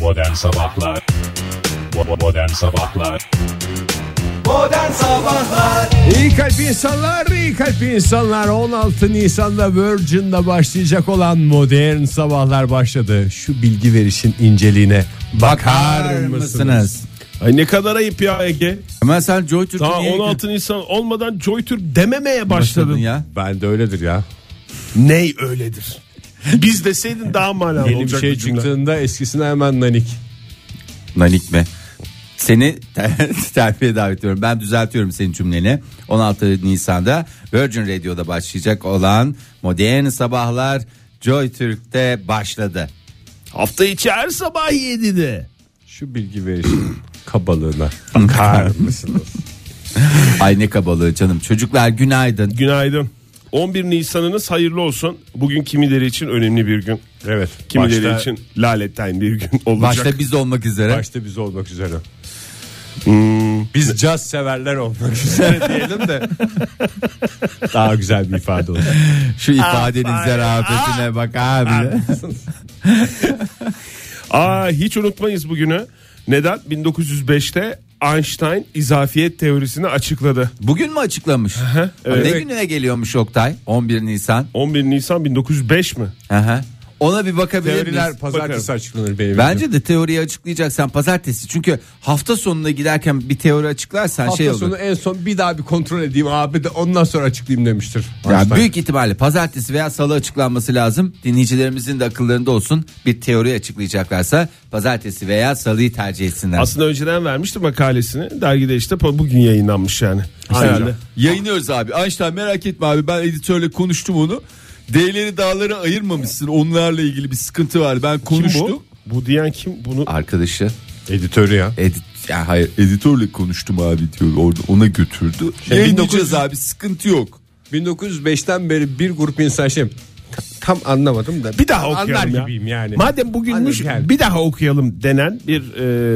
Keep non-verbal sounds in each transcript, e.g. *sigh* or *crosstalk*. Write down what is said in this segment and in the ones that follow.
Modern Sabahlar Bo- Modern Sabahlar Modern Sabahlar İyi kalp insanlar, iyi kalp insanlar. 16 Nisan'da Virgin'da başlayacak olan modern sabahlar başladı. Şu bilgi verişin inceliğine bakar, mısınız? Ay ne kadar ayıp ya Ege. Hemen sen Joy Türk'ü Daha niye 16 Nisan olmadan JoyTürk dememeye başladın başladın. ya? Ben de öyledir ya. Ney öyledir? Biz deseydin daha manalı Yeni bir olacak şey bu cümle. çıktığında eskisine hemen nanik. Nanik mi? Seni ter- *laughs* terfiye davet ediyorum. Ben düzeltiyorum senin cümleni. 16 Nisan'da Virgin Radio'da başlayacak olan Modern Sabahlar Joy Türk'te başladı. Hafta içi her sabah 7'de. Şu bilgi verişin kabalığına bakar mısınız? Ay ne kabalığı canım. Çocuklar günaydın. Günaydın. 11 Nisan'ınız hayırlı olsun. Bugün kimileri için önemli bir gün. Evet. Kimileri başta, için laletten bir gün *laughs* olacak. Başta biz olmak üzere. Başta biz olmak üzere. Hmm. Biz caz severler olmak üzere diyelim de. Daha güzel bir ifade olur. Şu ifadenin zarafetine bak abi. Aa hiç unutmayız bugünü. Neden? 1905'te Einstein izafiyet teorisini açıkladı. Bugün mü açıklamış? Ne gününe geliyormuş Oktay? 11 Nisan. 11 Nisan 1905 mi? Aha. Ona bir bakabilir Teoriler miyiz? pazartesi Bakalım. açıklanır benim. Bence de teoriyi açıklayacaksan pazartesi. Çünkü hafta sonuna giderken bir teori açıklarsan hafta şey olur. sonu en son bir daha bir kontrol edeyim abi de ondan sonra açıklayayım demiştir. Yani Einstein. büyük ihtimalle pazartesi veya salı açıklanması lazım. Dinleyicilerimizin de akıllarında olsun. Bir teori açıklayacaklarsa pazartesi veya salıyı tercih etsinler. Aslında önceden vermişti makalesini. Dergide işte bugün yayınlanmış yani. Herhalde. Yayınlıyoruz abi. Einstein merak etme abi ben editörle konuştum onu. D'leri dağlara ayırmamışsın. Onlarla ilgili bir sıkıntı var. Ben Kim bu? Bu diyen kim? Bunu Arkadaşı editörü ya. edit ya hayır editörle konuştum abi diyor. Orada ona götürdü. Şey, Yayınlayacağız 1900 abi sıkıntı yok. 1905'ten beri bir grup insan şey ta- tam anlamadım da bir daha anlar okuyalım ya. gibiyim yani. Madem bugünmüş Anladım yani. bir daha okuyalım denen bir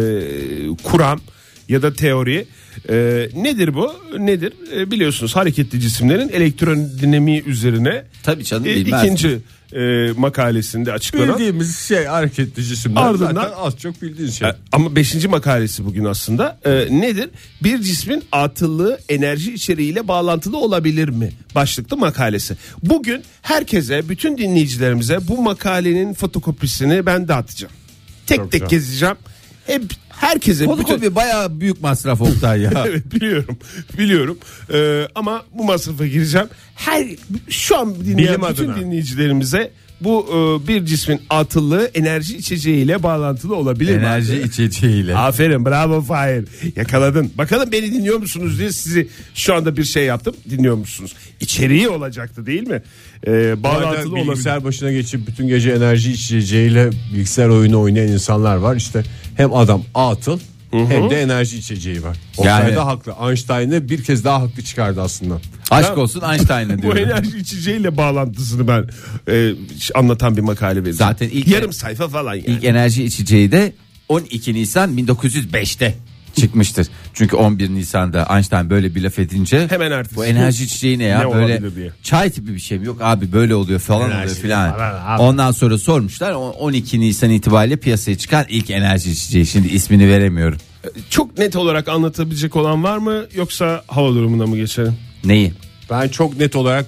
e, kuram ya da teori. E, nedir bu? Nedir? E, biliyorsunuz hareketli cisimlerin elektrodinamiği üzerine Tabii canım, bilmez ikinci e, makalesinde açıklanan. Bildiğimiz şey hareketli cisimler Ardından- zaten az çok bildiğin şey. E, Ama 5. makalesi bugün aslında. E, nedir? Bir cismin atıllığı enerji içeriğiyle bağlantılı olabilir mi? Başlıklı makalesi. Bugün herkese, bütün dinleyicilerimize bu makalenin fotokopisini ben dağıtacağım. Tek tek güzel. gezeceğim. Hep herkese bütün- *laughs* Fotokopi bayağı büyük masraf Oktay *laughs* ya. Evet biliyorum. Biliyorum. E, ama bu masrafa gireceğim. Her şu an dinleyen Bilim bütün adına. dinleyicilerimize bu e, bir cismin atıllığı enerji içeceğiyle bağlantılı olabilir mi? Enerji içeceğiyle. Aferin bravo Fahir yakaladın. Bakalım beni dinliyor musunuz diye sizi şu anda bir şey yaptım dinliyor musunuz? İçeriği olacaktı değil mi? Ee, Madem bağlantılı bilgisayar olabilir. başına geçip bütün gece enerji içeceğiyle bilgisayar oyunu oynayan insanlar var. İşte hem adam atıl hem de enerji içeceği var. Oktay Yani- da haklı. Einstein'ı bir kez daha haklı çıkardı aslında. Aşk olsun *laughs* Einstein'a Bu diyorum. enerji içeceğiyle bağlantısını ben e, anlatan bir makale vereceğim. Zaten ilk- yarım sayfa falan yani. İlk enerji içeceği de 12 Nisan 1905'te çıkmıştır. Çünkü 11 Nisan'da Einstein böyle bir laf edince Hemen ertesi bu gün enerji içeceği ne ya ne olabilir böyle diye. çay tipi bir şey mi yok abi böyle oluyor falan Enerji oluyor filan. falan abi. Ondan sonra sormuşlar O- 12 Nisan itibariyle piyasaya çıkan ilk enerji içeceği şimdi ismini veremiyorum. Çok net olarak anlatabilecek olan var mı yoksa hava durumuna mı geçelim? Neyi? Ben çok net olarak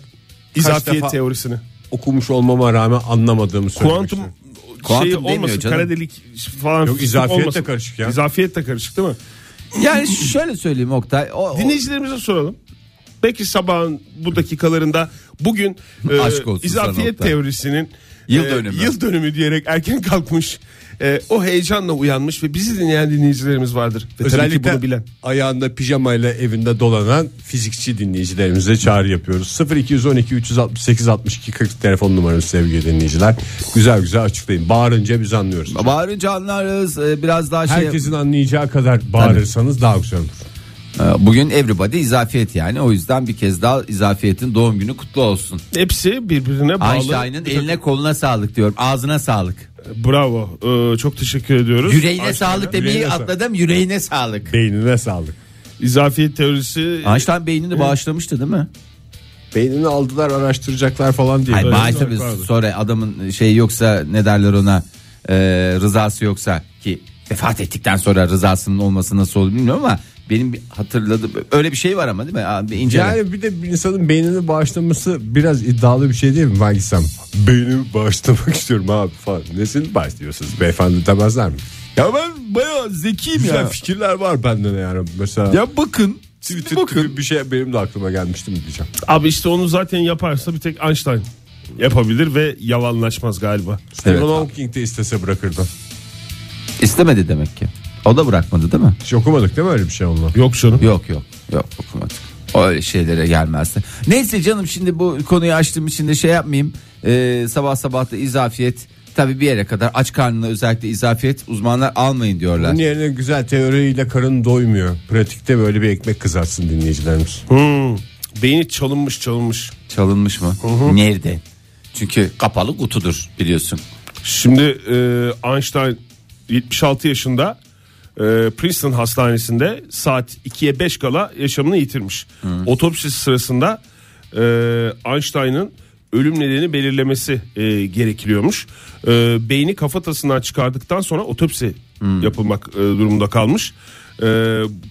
İzafiyet defa- teorisini. okumuş olmama rağmen anlamadığımı söylemiştim. Kuantum Kuantum şey Kuantum demiyor olmasın canım. kara delik falan Yok, izafiyet de olmasın. karışık ya. İzafiyet de karışık değil mi? Yani şöyle söyleyeyim Oktay. O, o- Dinleyicilerimize soralım. Belki sabahın bu dakikalarında bugün e, *laughs* Aşk olsun sana izafiyet Oktay. teorisinin Yıl e, dönümü. yıl dönümü diyerek erken kalkmış e, o heyecanla uyanmış ve bizi dinleyen dinleyicilerimiz vardır. Ve tabii ki özellikle bunu bilen. ayağında pijamayla evinde dolanan fizikçi dinleyicilerimize çağrı yapıyoruz. 0212 368 62 40 telefon numaramız sevgili dinleyiciler. Güzel güzel açıklayın. Bağırınca biz anlıyoruz. Bağırınca anlarız e, biraz daha şey. Herkesin anlayacağı kadar bağırırsanız daha güzel olur. E, Bugün everybody izafiyet yani o yüzden bir kez daha izafiyetin doğum günü kutlu olsun. Hepsi birbirine bağlı. E, Einstein'ın eline koluna sağlık diyorum. Ağzına sağlık. Bravo. E, çok teşekkür ediyoruz. Yüreğine Einstein'a. sağlık demeyi Yüreğine sağlık. atladım. Yüreğine sağlık. Beynine sağlık. İzafiyet teorisi Einstein beynini bağışlamıştı değil mi? Beynini aldılar araştıracaklar falan diye. Hayır, Böyle bağışlamış. vardı. Sonra adamın şey yoksa ne derler ona? e, rızası yoksa ki vefat ettikten sonra rızasının olması nasıl olur bilmiyorum ama benim bir hatırladığım öyle bir şey var ama değil mi? Abi incele. Yani bir de bir insanın beynini bağışlaması biraz iddialı bir şey değil mi? Ben gitsem beynimi bağışlamak *laughs* istiyorum abi falan. Nesini bağışlıyorsunuz beyefendi demezler mi? ya ben bayağı zekiyim Güzel şey. fikirler var bende de yani. Mesela Ya bakın. Twitter gibi bir şey benim de aklıma gelmişti mi diyeceğim. Abi işte onu zaten yaparsa bir tek Einstein yapabilir ve yalanlaşmaz galiba. Evet. Stephen Hawking de istese bırakırdı. İstemedi demek ki. O da bırakmadı değil mi? Hiç okumadık değil mi öyle bir şey onunla? Yok canım. Yok yok yok okumadık. Öyle şeylere gelmezdi. Neyse canım şimdi bu konuyu açtığım için de şey yapmayayım. Ee, sabah sabah da izafiyet tabi bir yere kadar aç karnına özellikle izafiyet uzmanlar almayın diyorlar. Bunun yerine güzel teoriyle karın doymuyor. Pratikte böyle bir ekmek kızartsın dinleyicilerimiz. Hmm. Beyni çalınmış çalınmış. Çalınmış mı? Nerede? Çünkü kapalı kutudur biliyorsun. Şimdi e, Einstein 76 yaşında e, Princeton Hastanesi'nde saat 2'ye 5 kala yaşamını yitirmiş. Otopsisi sırasında e, Einstein'ın ölüm nedeni belirlemesi e, gerekiliyormuş. E, beyni kafatasından çıkardıktan sonra otopsi yapılmak e, durumunda kalmış. E,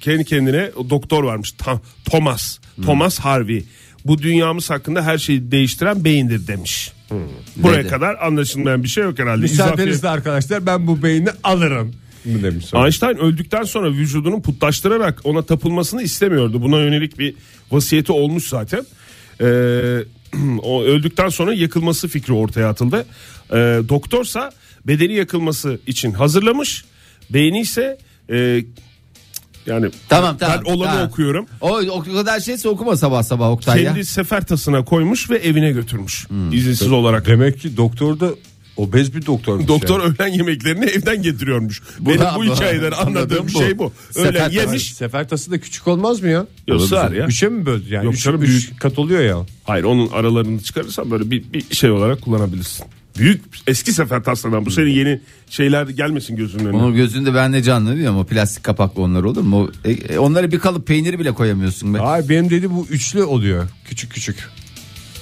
kendi kendine doktor varmış Ta- Thomas Thomas Harvey. Bu dünyamız hakkında her şeyi değiştiren beyindir demiş. Buraya Dedi. kadar anlaşılmayan bir şey yok herhalde. İzafi- Müsaadenizle arkadaşlar ben bu beyni alırım. Mı demiş sonra. Einstein öldükten sonra vücudunu putlaştırarak ona tapılmasını istemiyordu. Buna yönelik bir vasiyeti olmuş zaten. Ee, *clears throat* o öldükten sonra yakılması fikri ortaya atıldı. Ee, doktorsa bedeni yakılması için hazırlamış. Beyni ise e, yani Tamam tamam. ben olanı tamam. okuyorum. O, o kadar şeyse okuma sabah sabah Oktay Kendi ya. sefertasına koymuş ve evine götürmüş. izinsiz olarak. Demek ki doktor da obez bir doktormuş. Doktor yani. öğlen yemeklerini evden getiriyormuş. Benim da- Şey- bu hikayeden anladığım anladığım bu. şey bu. Öğlen Sefer- yemiş. Sefertası da küçük olmaz mı ya? Yok, sığar ya. Üçe mi böldü yani? Yok üç, canım, üç büyük. kat oluyor ya. Hayır onun aralarını çıkarırsan böyle bir, bir şey olarak kullanabilirsin. Büyük eski sefer taslanan bu senin yeni şeyler gelmesin gözünün önüne. Onun gözünde ben ne canlı biliyorum o plastik kapaklı onlar olur mu? O- e, e, onlara bir kalıp peyniri bile koyamıyorsun be. Hayır benim dedi bu üçlü oluyor. Küçük küçük.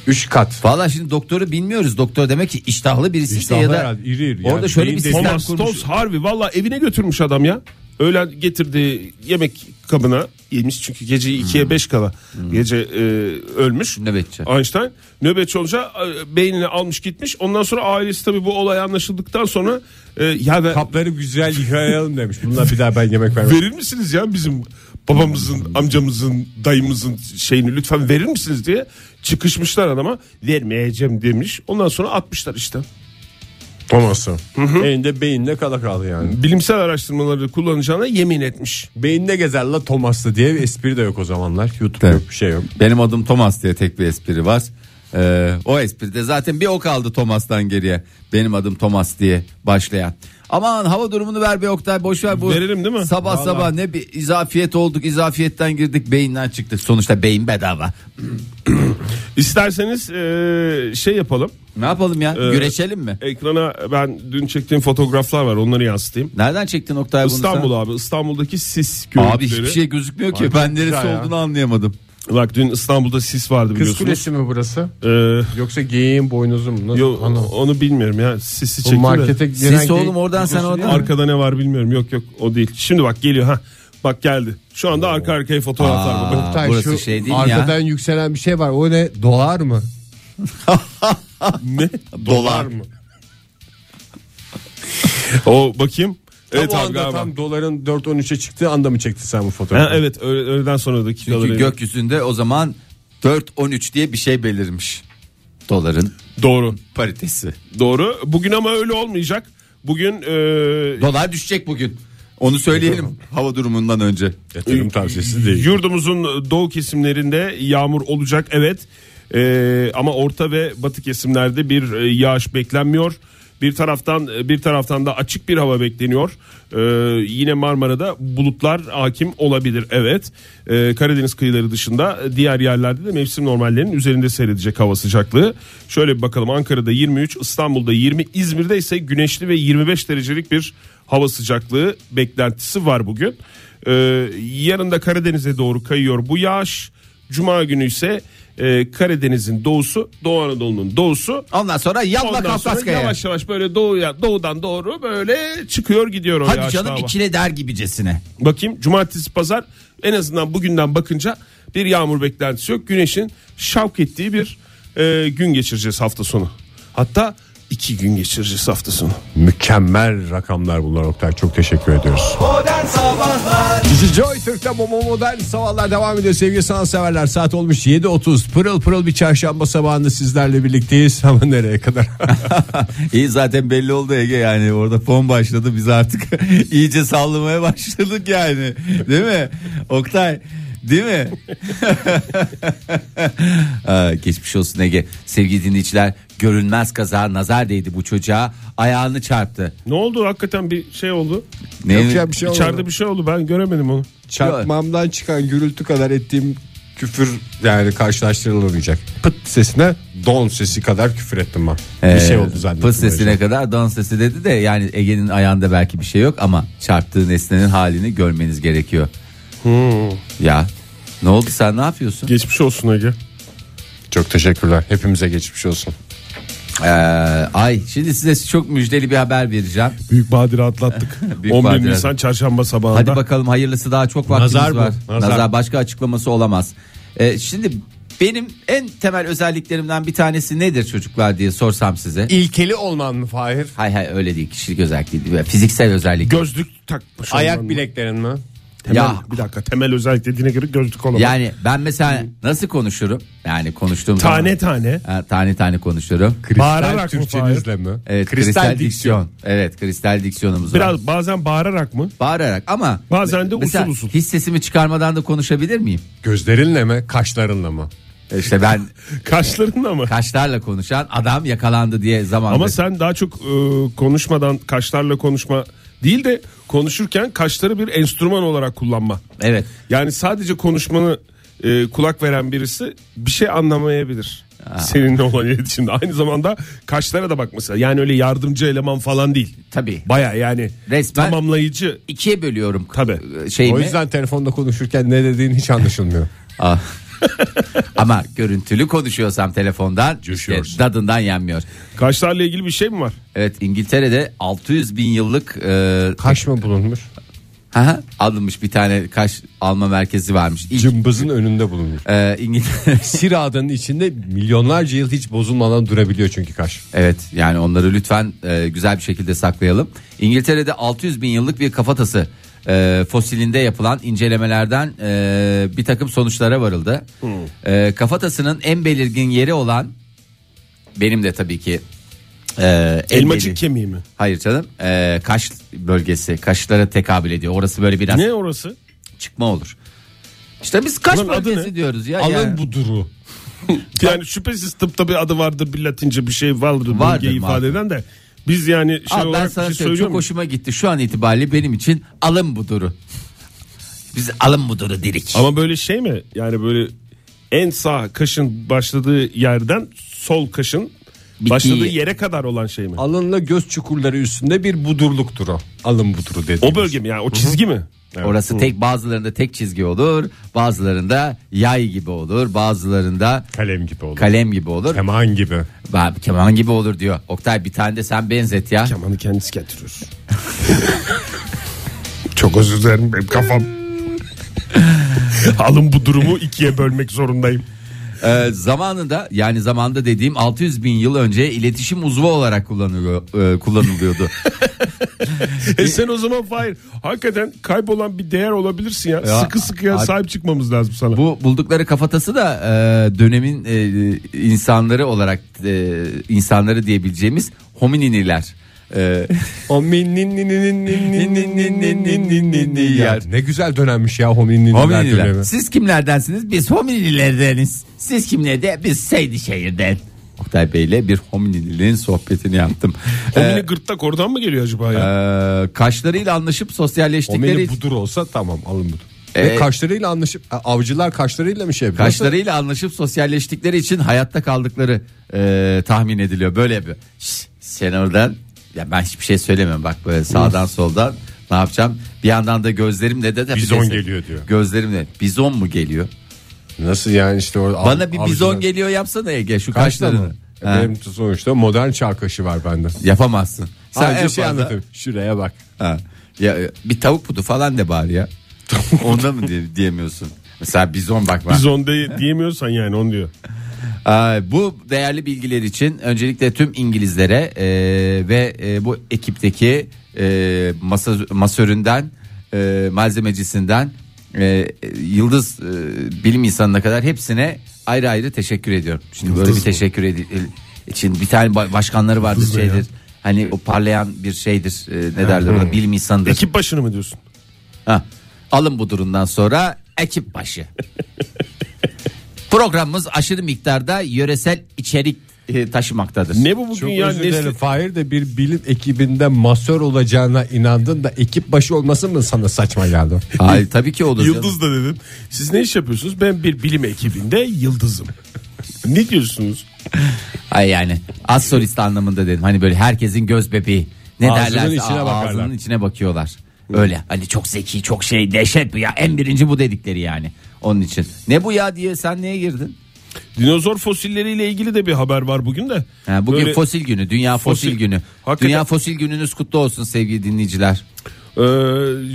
Üç kat. Valla şimdi doktoru bilmiyoruz. Doktor demek ki iştahlı birisi işte İştahlı ya da herhalde, iri iri orada yani. şöyle Beyin bir sistem Thomas kurmuş. Stones Harvey valla evine götürmüş adam ya. Öğlen getirdiği yemek kabına yemiş çünkü gece 2'ye 5 kala gece e, ölmüş. Nöbetçi. Einstein nöbetçi olunca e, beynini almış gitmiş. Ondan sonra ailesi tabii bu olay anlaşıldıktan sonra e, ya ben- Kapları güzel yıkayalım demiş. Bunlar bir daha ben yemek vermem. verir misiniz ya bizim babamızın, amcamızın, dayımızın şeyini lütfen verir misiniz diye çıkışmışlar adama. Vermeyeceğim demiş. Ondan sonra atmışlar işte. Olmasın. Elinde beyinle kala kaldı yani. Bilimsel araştırmaları kullanacağına yemin etmiş. Beyinde gezer la Thomas'lı diye bir espri de yok o zamanlar. YouTube Evet. yok bir şey yok. Benim adım Thomas diye tek bir espri var. Ee, o espride zaten bir o kaldı Thomas'tan geriye. Benim adım Thomas diye başlayan. Aman hava durumunu ver be Oktay boş ver bu. Verelim değil mi? Sabah sabah ne bir izafiyet olduk. izafiyetten girdik beyinden çıktık. Sonuçta beyin bedava. İsterseniz eee, şey yapalım. Ne yapalım ya? Ee, Güreşelim mi? Ekrana ben dün çektiğim fotoğraflar var onları yansıtayım. Nereden çektin Oktay bunu sen? İstanbul abi İstanbul'daki sis görüntüleri. Abi hiçbir şey gözükmüyor ki. Ben neresi güzel ya. olduğunu anlayamadım. Bak dün İstanbul'da sis vardı Kız biliyorsunuz. kulesi mi burası? Eee, Yoksa geyiğin boynuzu mu? Nasıl? yo, Ana. onu bilmiyorum ya sisi Bu çekti de. markete giren Siz oğlum geyik- oradan sen videosu oradan. değil mi? Arkada ne var bilmiyorum. Yok yok o değil. Şimdi bak geliyor ha. Bak geldi. Şu anda arka arkaya fotoğraflar Aa. var. Bak, Oktay, burası şu şey değil mi arkadan yükselen bir şey var. O ne? Dolar mı? Ne? Dolar mı? o bakayım. Evet Tam o abi anda galiba. tam doların 4.13'e çıktığı anda mı çektin sen bu fotoğrafı? Ha, evet öğle- öğleden sonra dakikaları. Çünkü gökyüzünde o zaman 4-13 diye bir şey belirmiş. Doların Doğru. paritesi. Doğru. Bugün ama öyle olmayacak. Bugün e, Dolar düşecek bugün. Onu söyleyelim hava durumundan önce. Yatırım tavsiyesi değil. Yurdumuzun doğu kesimlerinde yağmur olacak evet. Ee, ama orta ve batı kesimlerde bir e, yağış beklenmiyor. Bir taraftan e, bir taraftan da açık bir hava bekleniyor. Ee, yine Marmara'da bulutlar hakim olabilir evet. Ee, Karadeniz kıyıları dışında e, diğer yerlerde de mevsim normallerinin üzerinde seyredecek hava sıcaklığı. Şöyle bir bakalım Ankara'da 23, İstanbul'da 20, İzmir'de ise güneşli ve 25 derecelik bir hava sıcaklığı beklentisi var bugün. Ee, yarın da Karadeniz'e doğru kayıyor bu yağış. Cuma günü ise e, Karadeniz'in doğusu, Doğu Anadolu'nun doğusu. Ondan sonra yalla Ondan sonra Kafkasya'ya. yavaş yavaş böyle doğuya, doğudan doğru böyle çıkıyor gidiyor o Hadi yağış canım dava. içine der gibicesine. Bakayım cumartesi pazar en azından bugünden bakınca bir yağmur beklentisi yok. Güneşin şavk ettiği bir e, gün geçireceğiz hafta sonu. Hatta iki gün geçireceğiz hafta sonu. Mükemmel rakamlar bunlar Oktay. Çok teşekkür ediyoruz. Bizi Joy Türk'te Bobo Modern Sabahlar devam ediyor sevgili sanatseverler. Saat olmuş 7.30. Pırıl pırıl bir çarşamba sabahında sizlerle birlikteyiz. *laughs* Ama nereye kadar? İyi zaten belli oldu Ege yani orada fon başladı biz artık *laughs* iyice sallamaya başladık yani değil mi Oktay değil mi? *laughs* Aa, geçmiş olsun Ege sevgili dinleyiciler görünmez kaza nazar değdi bu çocuğa ayağını çarptı. Ne oldu hakikaten bir şey oldu. Ne? Yapacak bir şey olmadı. İçeride bir şey oldu ben göremedim onu. Çarpmamdan çıkan gürültü kadar ettiğim küfür yani karşılaştırılamayacak. Pıt sesine don sesi kadar küfür ettim ben. bir şey oldu zannettim. Ee, Pıs sesine kadar dans sesi dedi de yani Ege'nin ayağında belki bir şey yok ama çarptığı nesnenin halini görmeniz gerekiyor. Hmm. Ya ne oldu sen ne yapıyorsun? Geçmiş olsun Ege. Çok teşekkürler. Hepimize geçmiş olsun. Ee, ay şimdi size çok müjdeli bir haber vereceğim. Büyük badire atlattık. *laughs* Büyük 11 badire. Nisan çarşamba sabahında. Hadi bakalım hayırlısı daha çok vaktimiz Nazar bu, var. nazar. Nazar. başka açıklaması olamaz. Ee, şimdi benim en temel özelliklerimden bir tanesi nedir çocuklar diye sorsam size. İlkeli olman mı Fahir? Hay hay öyle değil kişilik özellik değil fiziksel özellik. Gözlük takmış. olman. Ayak bileklerin mi? Temel, Ya. Bir dakika temel özellik dediğine göre gözlük olamaz. yani ben mesela nasıl konuşurum? Yani konuştuğum Tane zaman- tane. Ha, tane tane konuşurum. Bağırarak mı Türkçenizle mi? Evet, kristal, diksiyon. Evet, kristal diksiyonumuz var. Biraz bazen bağırarak mı? *laughs* Bağırarak ama Bazen de mesela usul usul. hiç sesimi çıkarmadan da konuşabilir miyim? Gözlerinle mi? Kaşlarınla mı? İşte ben Kaşlarınla mı? kaşlarla konuşan adam yakalandı diye zamanında. Ama sen daha çok e, konuşmadan kaşlarla konuşma değil de konuşurken kaşları bir enstrüman olarak kullanma. Evet. Yani sadece konuşmanı e, kulak veren birisi bir şey anlamayabilir. Seninle olan iletişimde aynı zamanda kaşlara da bakması. Yani öyle yardımcı eleman falan değil. Tabii. Baya yani Resmen- tamamlayıcı. İkiye bölüyorum. Tabii. Şey O mi? yüzden telefonda konuşurken ne dediğin hiç anlaşılmıyor. *laughs* Ah. Ama görüntülü konuşuyorsam telefondan işte Coşuyorsun. dadından yenmiyor. Kaşlarla ilgili bir şey mi var? Evet İngiltere'de 600 bin yıllık e, *laughs* Kaş mı bulunmuş? haha, alınmış bir tane kaş alma merkezi varmış. İlk, Cımbızın önünde *laughs* bulunmuş. e, İngiltere Sir Adanın içinde milyonlarca yıl hiç bozulmadan durabiliyor çünkü kaş. Evet yani onları lütfen e, güzel bir şekilde saklayalım. İngiltere'de 600 bin yıllık bir kafatası e, fosilinde yapılan incelemelerden e, bir takım sonuçlara varıldı. Hmm. E, kafatasının en belirgin yeri olan benim de tabii ki e, en Elmacık belir- kemiği mi? Hayır canım e, kaş bölgesi kaşlara tekabül ediyor. Orası böyle biraz Ne orası? çıkma olur. İşte biz kaş Bunun adı bölgesi ne? diyoruz ya. yani. Alın bu duru. Yani şüphesiz tıpta bir adı vardır bir latince bir şey vardır, Vardır, bölgeyi ifade vardır. eden de biz yani şey Abi ben olarak bir sana şey söyleyeyim, söylüyor çok muyum? hoşuma gitti. Şu an itibariyle benim için alın buduru. Biz alın buduru dedik. Ama böyle şey mi yani böyle en sağ kaşın başladığı yerden sol kaşın Bittiği- başladığı yere kadar olan şey mi? Alınla göz çukurları üstünde bir budurluk duru. Alın buduru dedi. O bölge mi yani o çizgi mi? Evet. Orası tek bazılarında tek çizgi olur, bazılarında yay gibi olur, bazılarında Kalem gibi oldu. kalem gibi olur. Keman gibi. Abi keman gibi olur diyor. Oktay bir tane de sen benzet ya. Kemanı kendisi getiriyor. çok özür dilerim benim kafam. Alın bu durumu ikiye bölmek zorundayım. Ee, zamanında yani zamanda dediğim 600 bin yıl önce iletişim uzvu olarak kullanılıyor, *laughs* e, kullanılıyordu. E sen o zaman Fahir hakikaten kaybolan bir değer olabilirsin ya. Ya, sıkı sıkıya abi- sahip çıkmamız lazım sana. Bu buldukları kafatası da e, dönemin e, insanları olarak e, insanları diyebileceğimiz homininiler. E, O min nin nin nin nin nin nin nin nin nin nin nin nin ya. Ne güzel dönemmiş ya homininiler hominiler. dönemi. Siz kimlerdensiniz? Biz hominilerdeniz. Siz kimlerde? Biz Seydişehir'den. Oktay Bey'le bir hominililerin sohbetini yaptım. Homini gırtlak oradan mı geliyor acaba ya? E, kaşlarıyla anlaşıp sosyalleştikleri Homini budur olsa tamam alın budur. Evet. Ve kaşlarıyla anlaşıp a- avcılar kaşlarıyla mı şey yapıyor? kaşlarıyla anlaşıp sosyalleştikleri için hayatta kaldıkları e, tahmin ediliyor. Böyle bir "Şş, sen oradan ya ben hiçbir şey söylemiyorum bak böyle sağdan soldan ne yapacağım? Bir yandan da gözlerimle de, de Bizon geliyor diyor. Gözlerimle bizon mu geliyor? Nasıl yani işte orada Bana bir avcuna- bizon geliyor yapsana Ege şu Kaşla kaşlarını. mı? E, Ha, Benim sonuçta modern çağ kaşı var bende. Yapamazsın. Sadece en şey fazla- anlatayım. Şuraya bak. Ha. Ya, e, bir tavuk budu falan de bari ya. Onda mı diye- diyemiyorsun? Mesela bizon bak bak. Bizon de- diyemiyorsan yani onu diyor. Aa, Ee, bu değerli bilgiler için öncelikle tüm İngilizlere e, ve e, bu ekipteki e, masa, masöründen e, malzemecisinden e, yıldız e, bilim insanına kadar hepsine ayrı ayrı teşekkür ediyorum. Şimdi böyle bir teşekkür edil için bir tane ba- başkanları vardır şeydir. Hani o parlayan bir şeydir e, ne derler ona bilim insanıdır. Ekip başını mı diyorsun? Ha. Alın bu durumdan sonra ekip başı. Programımız aşırı miktarda yöresel içerik e, taşımaktadır. Ne bu bugün Çok ya? özür dilerim. Nesli... Fahir de bir bilim ekibinde masör olacağına inandın da ekip başı olması mı sana saçma geldi? Hayır tabii ki olur. canım. Yıldız da dedim. Siz ne iş yapıyorsunuz? Ben bir bilim ekibinde yıldızım. ne diyorsunuz? Ay yani az solist anlamında dedim. Hani böyle herkesin göz bebeği. Ne Ağzının derler? içine bakarlar. Ağzının içine bakıyorlar. Öyle. Hani çok zeki, çok şey, dehşet bu ya. En birinci bu dedikleri yani. Onun için. Ne bu ya diye sen niye girdin? Dinozor fosilleriyle ilgili de bir haber var bugün de. Ha, bugün Böyle, fosil günü, dünya fosil, Fosil. günü. Hakikaten- Dünya fosil gününüz kutlu olsun sevgili dinleyiciler. e,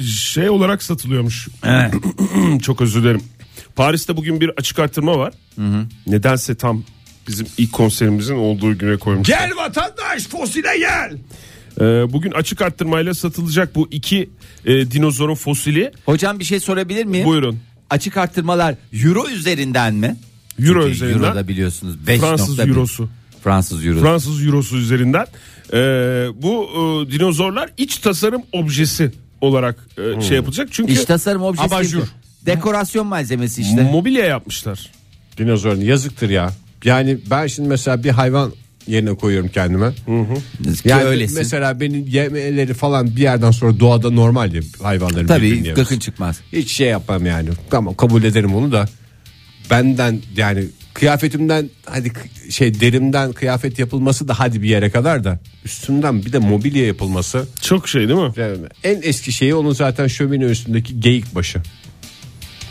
şey olarak satılıyormuş. *clears throat* Çok özür dilerim. Paris'te bugün bir açık artırma var. Nedense tam bizim ilk konserimizin olduğu güne koymuş. Gel vatandaş fosile gel. E, bugün açık arttırmayla satılacak bu iki e, dinozorun fosili. Hocam bir şey sorabilir miyim? Buyurun. Açık arttırmalar euro üzerinden mi? Euro Çünkü üzerinden. Euro da biliyorsunuz 5 Fransız nokta bir. eurosu. Fransız eurosu. Fransız Eurosu üzerinden e, bu e, dinozorlar iç tasarım objesi olarak e, şey yapılacak. Çünkü İç tasarım objesi. Abajur. gibi. Dekorasyon malzemesi işte. mobilya yapmışlar. Dinozorun yazıktır ya. Yani ben şimdi mesela bir hayvan yerine koyuyorum kendime. Ki Yani öylesin. mesela benim yemeleri falan bir yerden sonra doğada normal ya hayvanların birbirini Tabii yemesi. gıkın çıkmaz. Hiç şey yapmam yani. Tamam kabul ederim onu da. Benden yani kıyafetimden hadi kı- şey derimden kıyafet yapılması da hadi bir yere kadar da üstümden bir de mobilya yapılması. Çok şey değil mi? Yani En eski şeyi onun zaten şömine üstündeki geyik başı.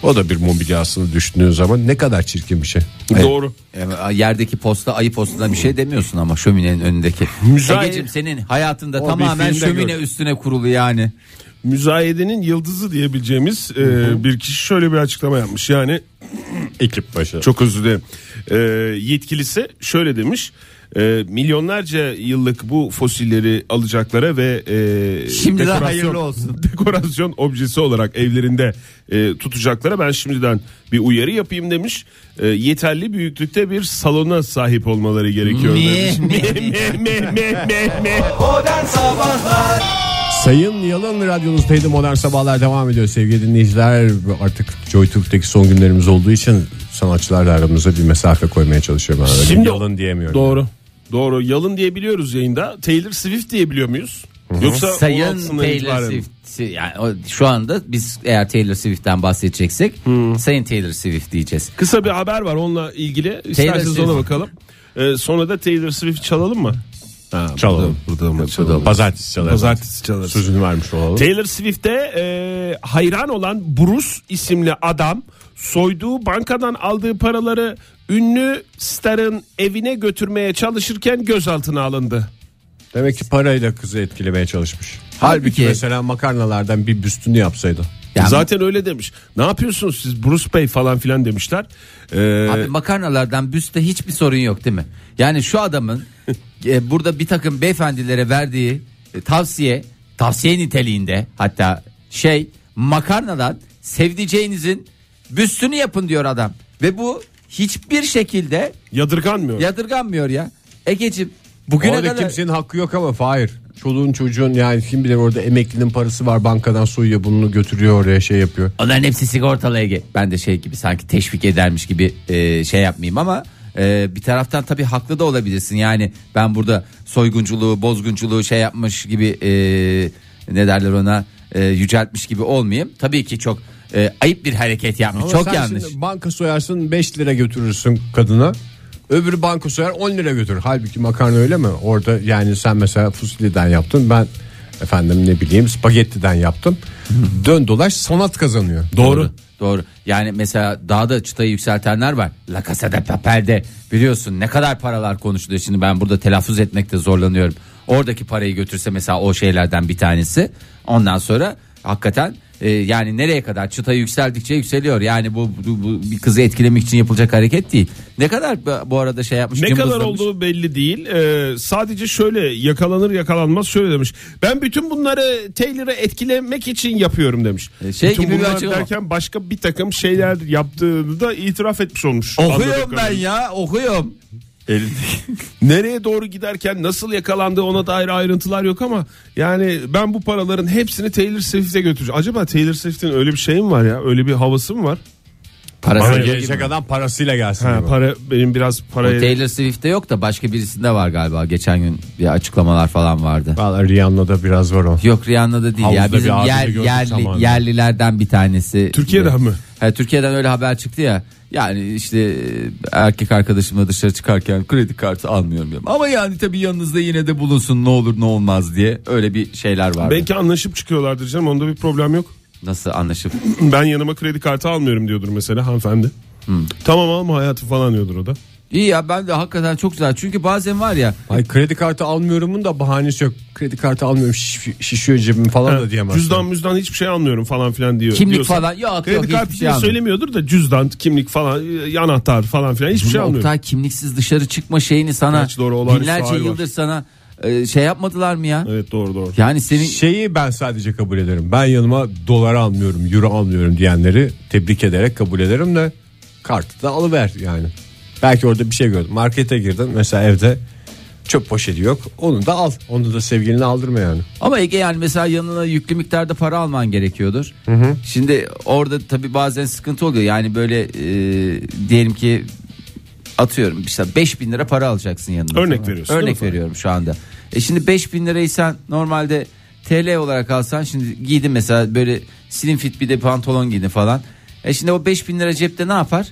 O da bir mobilya aslında düşündüğün zaman ne kadar çirkin bir şey. Doğru. E, Yerdeki posta ayı postasına bir şey demiyorsun ama şöminenin önündeki. Müzay- Egeciğim senin hayatında O bir tamamen filmde şömine gördüm. üstüne kurulu yani. müzayedenin yıldızı diyebileceğimiz e, bir kişi şöyle bir açıklama yapmış. Yani Ekip başı. çok özür dilerim. E, yetkilisi şöyle demiş. E, milyonlarca yıllık bu fosilleri alacaklara ve e, Şimdiden dekorasyon- hayırlı olsun. *laughs* Dekorasyon objesi olarak evlerinde e, tutacaklara ben şimdiden bir uyarı yapayım demiş. E, yeterli büyüklükte bir salona sahip olmaları gerekiyor Niye? demiş. Meh, meh, meh, meh, meh. Sayın Yalın radyonuzdaydı Modern Sabahlar devam ediyor sevgili dinleyiciler. Artık Joy Türk'teki son günlerimiz olduğu için sanatçılarla aramıza bir mesafe koymaya çalışıyorum. Arada. Şimdi- Yalın diyemiyorum. Doğru. Doğru. Yalın diyebiliyoruz yayında. Taylor Swift diyebiliyor muyuz? Yoksa Sayın Taylor Swift. Swift yani o- şu anda biz eğer Taylor Swift'ten bahsedeceksek Hmm. Sayın Taylor Swift diyeceğiz. Kısa bir haber var onunla ilgili. İsterseniz Swift. ona bakalım. Ee, sonra da Taylor Swift çalalım mı? Çalalım. Burada mı Pazartesi çalalım. Pazartesi çalarız. Sözünü vermiş olalım. Taylor Swift'e e, hayran olan Bruce isimli adam soyduğu bankadan aldığı paraları ünlü starın evine götürmeye çalışırken gözaltına alındı. Demek ki parayla kızı etkilemeye çalışmış. Halbuki- Halbuki, mesela makarnalardan bir büstünü yapsaydı. Yani- Zaten öyle demiş. Ne yapıyorsunuz siz Bruce Bey falan filan demişler. Ee, Abi makarnalardan büste hiçbir sorun yok değil mi? Yani şu adamın e, burada bir takım beyefendilere verdiği e, tavsiye, tavsiye niteliğinde hatta şey makarnadan sevdiceğinizin büstünü yapın diyor adam. Ve bu hiçbir şekilde Yadırganmıyor. yadırganmıyor ya. Egeciğim bugüne Orada kadar... kimsenin hakkı yok ama Fahir. Çoluğun çocuğun yani kim bilir orada emeklinin parası var bankadan soyuyor bunu götürüyor oraya şey yapıyor. Onların hepsi sigortalı Ege. Ben de şey gibi sanki teşvik edermiş gibi e, şey yapmayayım ama e, bir taraftan tabii haklı da olabilirsin. Yani ben burada soygunculuğu, bozgunculuğu şey yapmış gibi e, ne derler ona e, yüceltmiş gibi olmayayım. Tabii ki çok e, ayıp bir hareket yapmış. Ama çok sen yanlış. şimdi banka soyarsın 5 lira götürürsün kadına. Öbürü banka soyar 10 lira götürür. Halbuki makarna öyle mi? Orada yani sen mesela fusiliden yaptın ben efendim ne bileyim spagettiden yaptım. Dön dolaş sanat kazanıyor. Doğru. Doğru. Yani mesela daha da çıtayı yükseltenler var. La Casa de Papel'de biliyorsun ne kadar paralar konuşuluyor. Şimdi ben burada telaffuz etmekte zorlanıyorum. Oradaki parayı götürse mesela o şeylerden bir tanesi. Ondan sonra hakikaten e, yani nereye kadar çıtayı yükseldikçe yükseliyor. Yani bu, bu, bu bir kızı etkilemek için yapılacak hareket değil. Ne kadar bu- bu arada şey yapmış? Ne kadar cımbızlamış? olduğu belli değil. Ee, sadece şöyle yakalanır yakalanmaz şöyle demiş. Ben bütün bunları Taylor'ı etkilemek için yapıyorum demiş. E, şey bütün gibi bir bunlar açıklama. derken başka bir takım şeyler yaptığını da itiraf etmiş olmuş. Anladık Okuyorum ben kadarıyla. ya okuyorum. Nereye doğru giderken nasıl yakalandığı ona dair ayrıntılar yok ama yani ben bu paraların hepsini Taylor Swift'e götüreceğim. Acaba Taylor Swift'in öyle bir şey mi var ya? Öyle bir havası mı var? Parası Bana yok gelecek gibi. adam parasıyla gelsin. Ha, diyor. para benim biraz O paraya Taylor Swift'te yok da başka birisinde var galiba. Geçen gün bir açıklamalar falan vardı. Vallahi Rihanna'da biraz var o. Yok Rihanna'da değil ya Havuzda bizim bir abini yer, gördük yerli, zamanında. yerlilerden bir tanesi. Türkiye'den mi? He, Türkiye'den öyle haber çıktı ya. Yani işte e, erkek arkadaşımla dışarı çıkarken kredi kartı almıyorum diyorum. Ama yani tabii yanınızda yine de bulunsun ne olur ne olmaz diye öyle bir şeyler var. belki anlaşıp çıkıyorlardır canım onda bir problem yok. Nasıl anlaşıp Ben yanıma kredi kartı almıyorum diyordur mesela hanımefendi. Hmm. Tamam alma hayatı falan diyordur o da. İyi ya ben de hakikaten çok güzel. Çünkü bazen var ya Ay kredi kartı almıyorumun da bahanesi yok. Kredi kartı almıyorum şiş- şişiyor cebim falan da diyemez. Cüzdan müzdan hiçbir şey almıyorum falan filan diyor. kimlik diyorsa. falan yok Kredi yok kartı hiçbir şey diye almıyorum. söylemiyordur da cüzdan, kimlik falan, e, anahtar falan filan hiçbir şey Ama almıyorum. Oktay kimliksiz dışarı çıkma şeyini sana Gerçi doğru, olağanüstü binlerce hal var. yıldır sana e, şey yapmadılar mı ya? Evet doğru doğru. Yani senin Şeyi ben sadece kabul ederim. Ben yanıma dolar almıyorum, euro almıyorum diyenleri tebrik ederek kabul ederim de kartı da alıver yani. Belki orada bir şey gördüm. Markete girdin mesela evde çöp poşeti yok. Onu da al. Onu da sevgilini aldırma yani. Ama Ege yani mesela yanına yüklü miktarda para alman gerekiyordur. Şimdi orada tabii bazen sıkıntı oluyor. Yani böyle e, diyelim ki atıyorum işte 5000 lira para alacaksın yanına. Örnek mı? veriyorsun, değil mi Örnek sana? veriyorum şu anda. E şimdi 5000 lirayı sen normalde TL olarak alsan şimdi giydin mesela böyle slim fit bir de pantolon giydin falan. E şimdi o 5000 lira cepte ne yapar?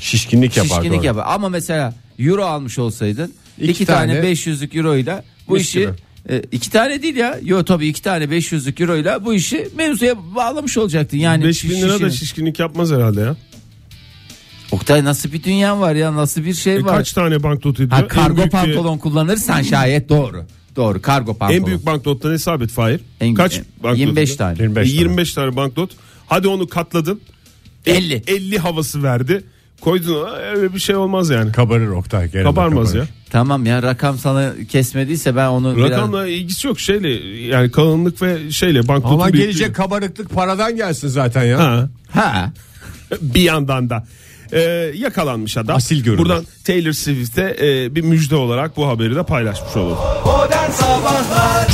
Şişkinlik yapar. Şişkinlik doğru. yapar. Ama mesela euro almış olsaydın İki iki, tane, tane 500'lük euro ile bu Mis işi gibi. e, iki tane değil ya. Yo tabii iki tane 500'lük euro ile bu işi mevzuya bağlamış olacaktın. Yani 5000 şiş- lira da şişini- şişkinlik yapmaz herhalde ya. Oktay nasıl bir dünya var ya nasıl bir şey E, var. kaç tane banknot ediyor? ha, kargo büyük diye- pantolon kullanırsan şayet doğru. Doğru kargo pantolon. En büyük banknottan hesap et Fahir. En- Kaç e, banknot? 25 ediyor? tane. 25 E, 25 tane banknot. Hadi onu katladın. 50. 50 havası verdi. Koydun ona, öyle bir şey olmaz yani. Kabarır Oktay. gene de Kabarmaz kabarır. ya. Tamam ya rakam sana kesmediyse ben onu biraz... Rakamla ilgisi yok şeyle yani kalınlık ve şeyle banknotun Ama büyüklüğü. gelecek kabarıklık paradan gelsin zaten ya. Ha, *laughs* Ha. bir yandan da Ee, yakalanmış adam. Asil görünüyor. Buradan Taylor Swift'e e, bir müjde olarak bu haberi de paylaşmış olalım.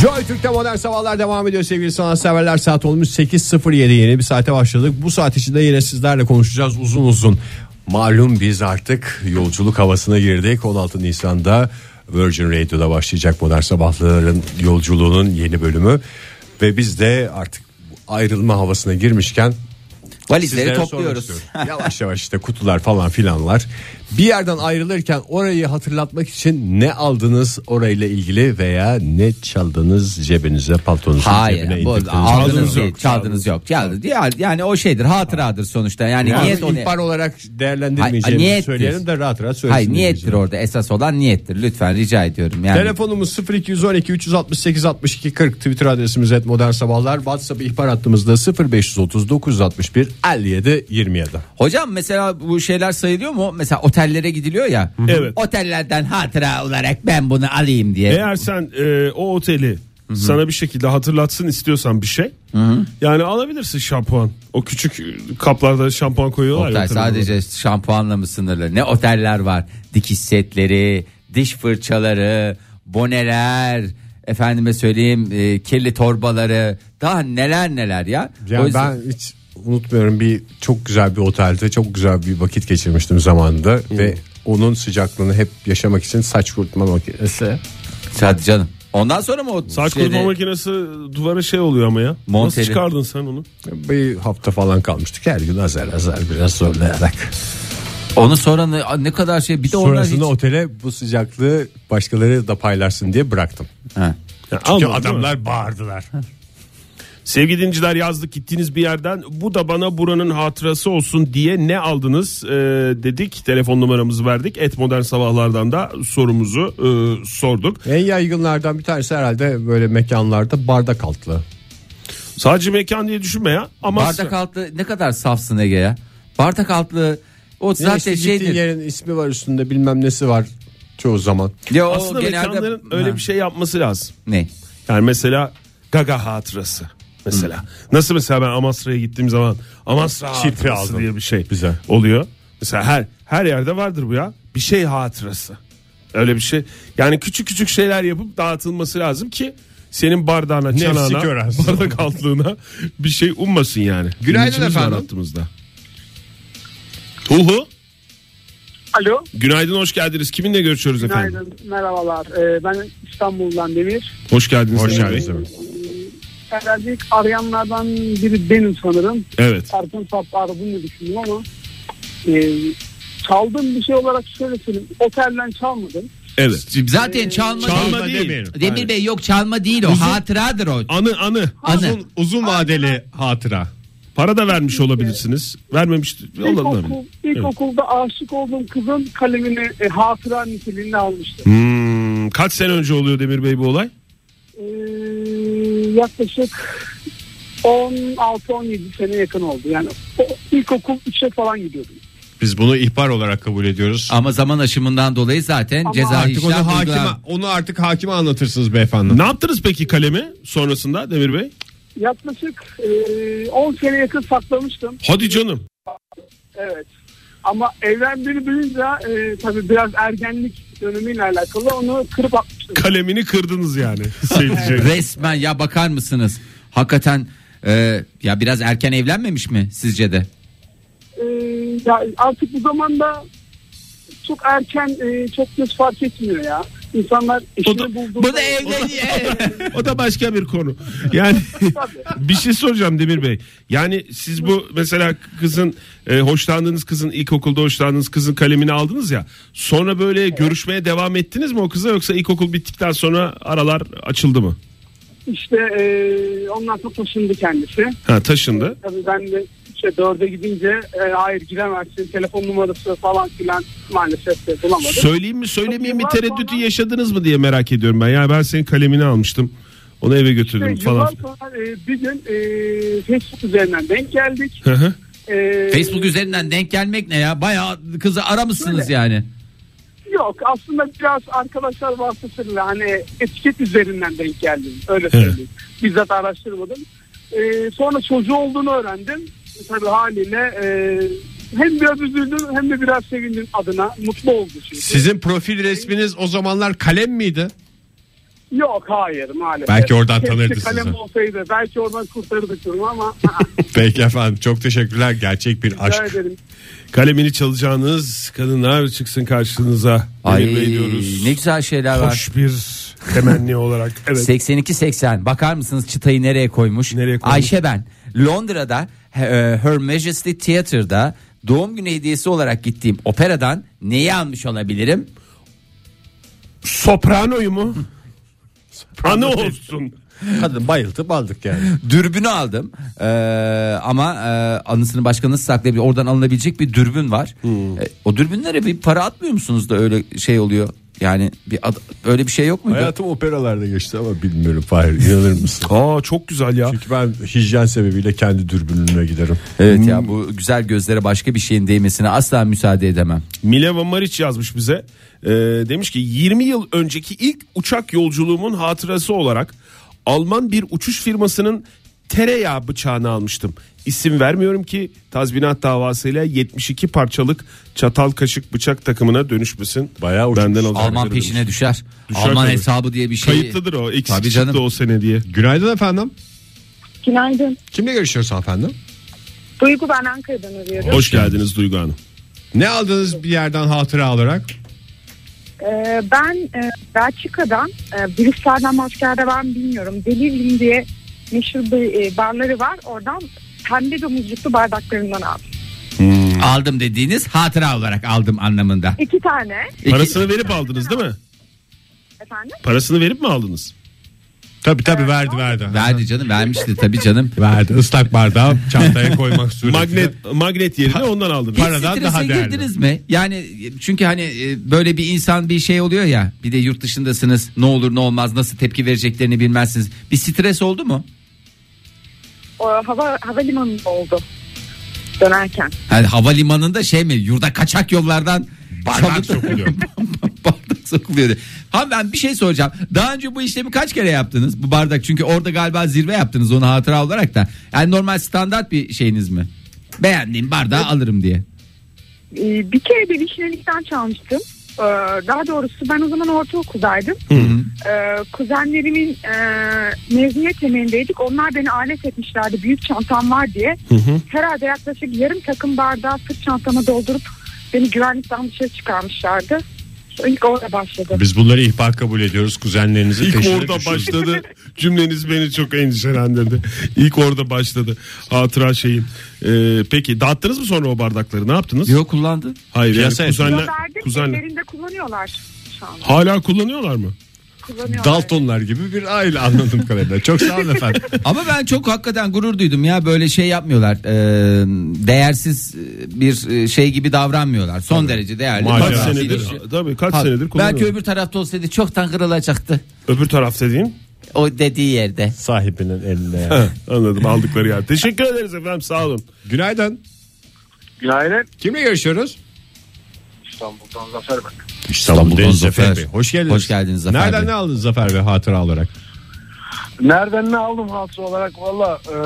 Joy Türk'te modern sabahlar devam ediyor sevgili sanatseverler. Saat olmuş 8.07 yeni bir saate başladık. Bu saat içinde yine sizlerle konuşacağız uzun uzun. Malum biz artık yolculuk havasına girdik. 16 Nisan'da Virgin Radio'da başlayacak modern sabahların yolculuğunun yeni bölümü. Ve biz de artık bu ayrılma havasına girmişken Valizleri Sizlere topluyoruz. *laughs* sormak istiyorum. yavaş yavaş işte kutular falan filanlar. Bir yerden ayrılırken orayı hatırlatmak için ne aldınız orayla ilgili veya ne çaldınız cebinize paltonuzun cebine Hayır. Bu, indirdiğiniz- aldınız yok. Çaldınız. Çaldınız yok. Çaldınız. Yani, yani o şeydir hatıradır sonuçta. Yani, niyet Yani onu. ihbar olarak Hayır, değerlendirmeyeceğimizi niyettir. söyleyelim de rahat rahat söylesin. Hayır niyettir dinleyiciler. orada esas olan niyettir. Lütfen rica ediyorum. Yani Telefonumuz 0212 368 62 40 Twitter adresimiz et modern sabahlar WhatsApp ihbar hattımızda 0539 61 57 27 hocam mesela bu şeyler sayılıyor mu? Mesela otellere gidiliyor ya. Evet. Otellerden hatıra olarak ben bunu alayım diye. Eğer sen e, o oteli sana bir şekilde hatırlatsın istiyorsan bir şey. Yani alabilirsin şampuan. O küçük e, kaplarda şampuan koyuyorlar. ya Oktay otellerde. sadece şampuanla mı sınırlı? Ne oteller var? Dikiş setleri, diş fırçaları, boneler, efendime söyleyeyim e, kirli torbaları. Daha neler neler ya. O Yani yüzden- ben hiç unutmuyorum bir çok güzel bir otelde çok güzel bir vakit geçirmiştim zamanında ve onun sıcaklığını hep yaşamak için saç kurutma makinesi. Hadi canım. Ondan sonra mı o Saç şeyde- kurutma makinesi duvara şey oluyor ama ya. Nasıl Monteli. çıkardın sen onu? Bir hafta falan kalmıştık her gün azar azar biraz zorlayarak. Onu sonra ne, ne kadar şey bir de onlar hiç... Sonrasında otele bu sıcaklığı başkaları da paylaşsın diye bıraktım. Ha. Ya Çünkü almadın, değil mi? adamlar bağırdılar. Sevgili dinciler yazdık gittiğiniz bir yerden bu da bana buranın hatırası olsun diye ne aldınız e, dedik. Telefon numaramızı verdik. Et modern sabahlardan da sorumuzu e, sorduk. En yaygınlardan bir tanesi herhalde böyle mekanlarda bardak altlı. Sadece mekan diye düşünme ya. Ama Bardak altlı ne kadar safsın Ege ya. Bardak altlı o Zaten zaten şeydir. yerin ismi var üstünde bilmem nesi var çoğu zaman. Ya o aslında genelde- mekanların öyle Ha. bir şey yapması lazım. Ne? Yani mesela Gaga hatırası mesela. Hmm. Nasıl mesela ben Amasra'ya gittiğim zaman Amasra Çipi hatırası aldım. diye bir şey Güzel. oluyor. Mesela her her yerde vardır bu ya. Bir şey hatırası. Öyle bir şey. Yani küçük küçük şeyler yapıp dağıtılması lazım ki senin bardağına, çanağına, görensin. bardak altlığına bir şey ummasın yani. Günaydın İçimiz var efendim. Hattımızda. Huhu. Alo. Günaydın hoş geldiniz. Kiminle görüşüyoruz efendim? Günaydın. Merhabalar. Ee, ben İstanbul'dan Demir. Hoş geldiniz. Hoş Emre Bey. geldiniz. Herhalde ilk arayanlardan biri benim sanırım. Evet. Erken saatte aradım diye düşündüm ama e, çaldığım bir şey olarak şöyle söyleyeyim. Otelden çalmadım. Evet. Zaten çalma, Çalma değil. değil. Demir Bey yok çalma değil o. Hatıradır o. Anı anı. Anı. Uzun, uzun vadeli hatıra. Para da vermiş olabilirsiniz. Vermemiş olabilir. İlkokul, ilkokulda aşık olduğum kızın kalemini e, hatıra niteliğinde almıştım. Hmm, kaç sene önce oluyor Demir Bey bu olay? Ee, yaklaşık 16-17 sene yakın oldu. Yani o, ilkokul 3'e falan gidiyordum. Biz bunu ihbar olarak kabul ediyoruz. Ama zaman aşımından dolayı zaten Ama ceza Artık onu işlem hakime, uygulan- onu artık hakime anlatırsınız beyefendi. Ne yaptınız peki kalemi sonrasında Demir Bey? Yaklaşık e, 10 sene yakın saklamıştım. Hadi canım. Evet. Ama evlendiğini duyunca e, tabii biraz ergenlik dönemiyle alakalı onu kırıp atmıştım. Kalemini kırdınız yani. Sevdiceğim. Resmen ya bakar mısınız? Hakikaten e, ya biraz erken evlenmemiş mi sizce de? E, ya artık bu zamanda çok erken e, çok göz fark etmiyor ya. İnsanlar O da- işini bulduğunda... Bu da e- evleniyor. o da başka bir konu. *laughs* Yani bir şey soracağım Demir Bey. Yani siz bu mesela kızın e, hoşlandığınız kızın ilkokulda hoşlandığınız kızın kalemini aldınız ya. Sonra böyle görüşmeye devam ettiniz mi o kıza yoksa ilkokul bittikten sonra aralar açıldı mı? İşte e, ondan sonra taşındı kendisi. Ha taşındı. Tabii ben de işte dörde gidince e, hayır giremezsin telefon numarası falan filan maalesef de bulamadım. Söyleyeyim mi söylemeyeyim mi Yıllar tereddütü sonra- yaşadınız mı diye merak ediyorum ben. Yani ben senin kalemini almıştım. Onu eve götürdüm Ve falan. Yıllar sonra e, bir gün e, Facebook üzerinden denk geldik. Hı hı. E, Facebook üzerinden denk gelmek ne ya? Bayağı kızı aramışsınız Öyle. yani. Yok aslında biraz arkadaşlar vasıtasıyla hani etiket üzerinden denk geldim. Öyle söyleyeyim. Bizzat araştırmadım. E, sonra çocuğu olduğunu öğrendim. Tabii haliyle e, hem biraz üzüldüm hem de biraz sevindim adına. Mutlu oldu çünkü. Sizin profil resminiz o zamanlar kalem miydi? Yok hayır maalesef. Belki oradan tanırdı Keşke kalem sizi. olsaydı belki oradan kurtarırdık *laughs* durumu ama Peki efendim çok teşekkürler. Gerçek bir rica ederim. Kalemini çalacağınız kadınlar çıksın karşınıza. Ay Demir Bey diyoruz. ne güzel şeyler var. Hoş bir temenni olarak. Evet. 82-80 bakar mısınız çıtayı nereye koymuş? Nereye koymuş? Ayşe ben Londra'da e, Her Majesty Theatre'da doğum günü hediyesi olarak gittiğim operadan neyi almış olabilirim? Sopranoyu mu? Anı olsun. Kadın bayıltıp aldık yani. *laughs* Dürbünü aldım Ee, ama e, anısını başkanınız saklayabilir. Oradan alınabilecek bir dürbün var. Hmm. E, o dürbünlere bir para atmıyor musunuz da öyle şey oluyor? Yani bir ad- öyle bir şey yok muydu? Hayatım operalarda geçti ama bilmiyorum Fahir inanır *laughs* mısın? Aa çok güzel ya. Çünkü ben hijyen sebebiyle kendi dürbünüme giderim. Evet ya bu güzel gözlere başka bir şeyin değmesine asla müsaade edemem. Mileva Maric yazmış bize. Ee, demiş ki 20 yıl önceki ilk uçak yolculuğumun hatırası olarak Alman bir uçuş firmasının tereyağı bıçağını almıştım. İsim vermiyorum ki tazminat davasıyla 72 parçalık çatal kaşık bıçak takımına dönüşmesin. Bayağı uçmuş. Benden alacakları Alman demiş. peşine düşer. Düşer Alman tabii. hesabı diye bir şey. Kayıtlıdır o. Eksik Tabii Tabii canım. o sene diye. Günaydın efendim. Günaydın. Kimle görüşüyoruz efendim? Duygu ben Ankara'dan arıyorum. Hoş geldiniz Duygu Hanım. Ne aldınız bir yerden hatıra olarak? Ee, ben e, Belçika'dan, e, Brüksel'den başka ben bilmiyorum. Delirium diye meşhur bir e, barları var. Oradan pembe domuzcuklu bardaklarından aldım. Aldım dediğiniz hatıra olarak aldım anlamında. İki tane İki- Parasını verip aldınız değil mi? efendim. Parasını verip mi aldınız? Tabii tabii verdi verdi. Verdi canım vermişti tabii canım. Verdi ıslak bardağı çantaya *laughs* koymak suretiyle. Magnet magnet yerine ondan aldım. Hiç- Paradan Strese daha değerli. girdiniz mi? Yani çünkü hani e, böyle bir insan bir şey oluyor ya. Bir de yurt dışındasınız. Ne olur ne olmaz nasıl tepki vereceklerini bilmezsiniz. Bir stres oldu mu? O, hava havalimanında oldu dönerken. Yani havalimanında şey mi? Yurda kaçak yollardan Bardak sokuluyor. *laughs* bardak sokuluyordu. Ha ben bir şey soracağım. Daha önce bu işlemi kaç kere yaptınız? Bu bardak çünkü orada galiba zirve yaptınız onu hatıra olarak da. Yani normal standart bir şeyiniz mi? Beğendiğim bardağı alırım diye. Ee, bir kere de vişnelikten çalmıştım. Ee, daha doğrusu ben o zaman ortaokuldaydım. Ee, kuzenlerimin e, mezuniyet yemeğindeydik. Onlar beni alet etmişlerdi büyük çantam var diye. Herhalde yaklaşık yarım takım bardağı sırt çantama doldurup beni güvenlikten dışarı çıkarmışlardı. İlk orada başladı. Biz bunları ihbar kabul ediyoruz kuzenlerinizi. İlk peşine orada düşürün. başladı. Cümleniz beni çok endişelendirdi. İlk orada başladı. Hatıra şeyim. Ee, peki dağıttınız mı sonra o bardakları? Ne yaptınız? Yok kullandı. Hayır yani Piyasaya Kilo kuzenler, verdim. kuzenler. Ellerinde kullanıyorlar şu an. Hala kullanıyorlar mı? Kullanıyorlar. Daltonlar gibi bir aile anladım kadarıyla. Çok sağ olun *laughs* efendim. Ama ben çok hakikaten gurur duydum ya böyle şey yapmıyorlar. Ee, değersiz e, bir e, şey gibi davranmıyorlar. Son derece değerli. Kaç Bak, senedir? bir- Tabii kaç senedir Belki kullanıyorlar. öbür tarafta olsaydı çoktan kırılacaktı. Öbür taraf dediğin. O dediği yerde. Sahibinin eline. Anladım aldıkları yer. Teşekkür ederiz efendim sağ olun. *laughs* Günaydın. Günaydın. Kimle görüşüyoruz? İstanbul'dan Zafer ben. İstanbul'dan Zafer. Hoş geldiniz. Hoş geldiniz Zafer Nereden Bey. ne aldınız Zafer Bey hatıra olarak? Nereden ne aldım hatıra olarak? Valla e,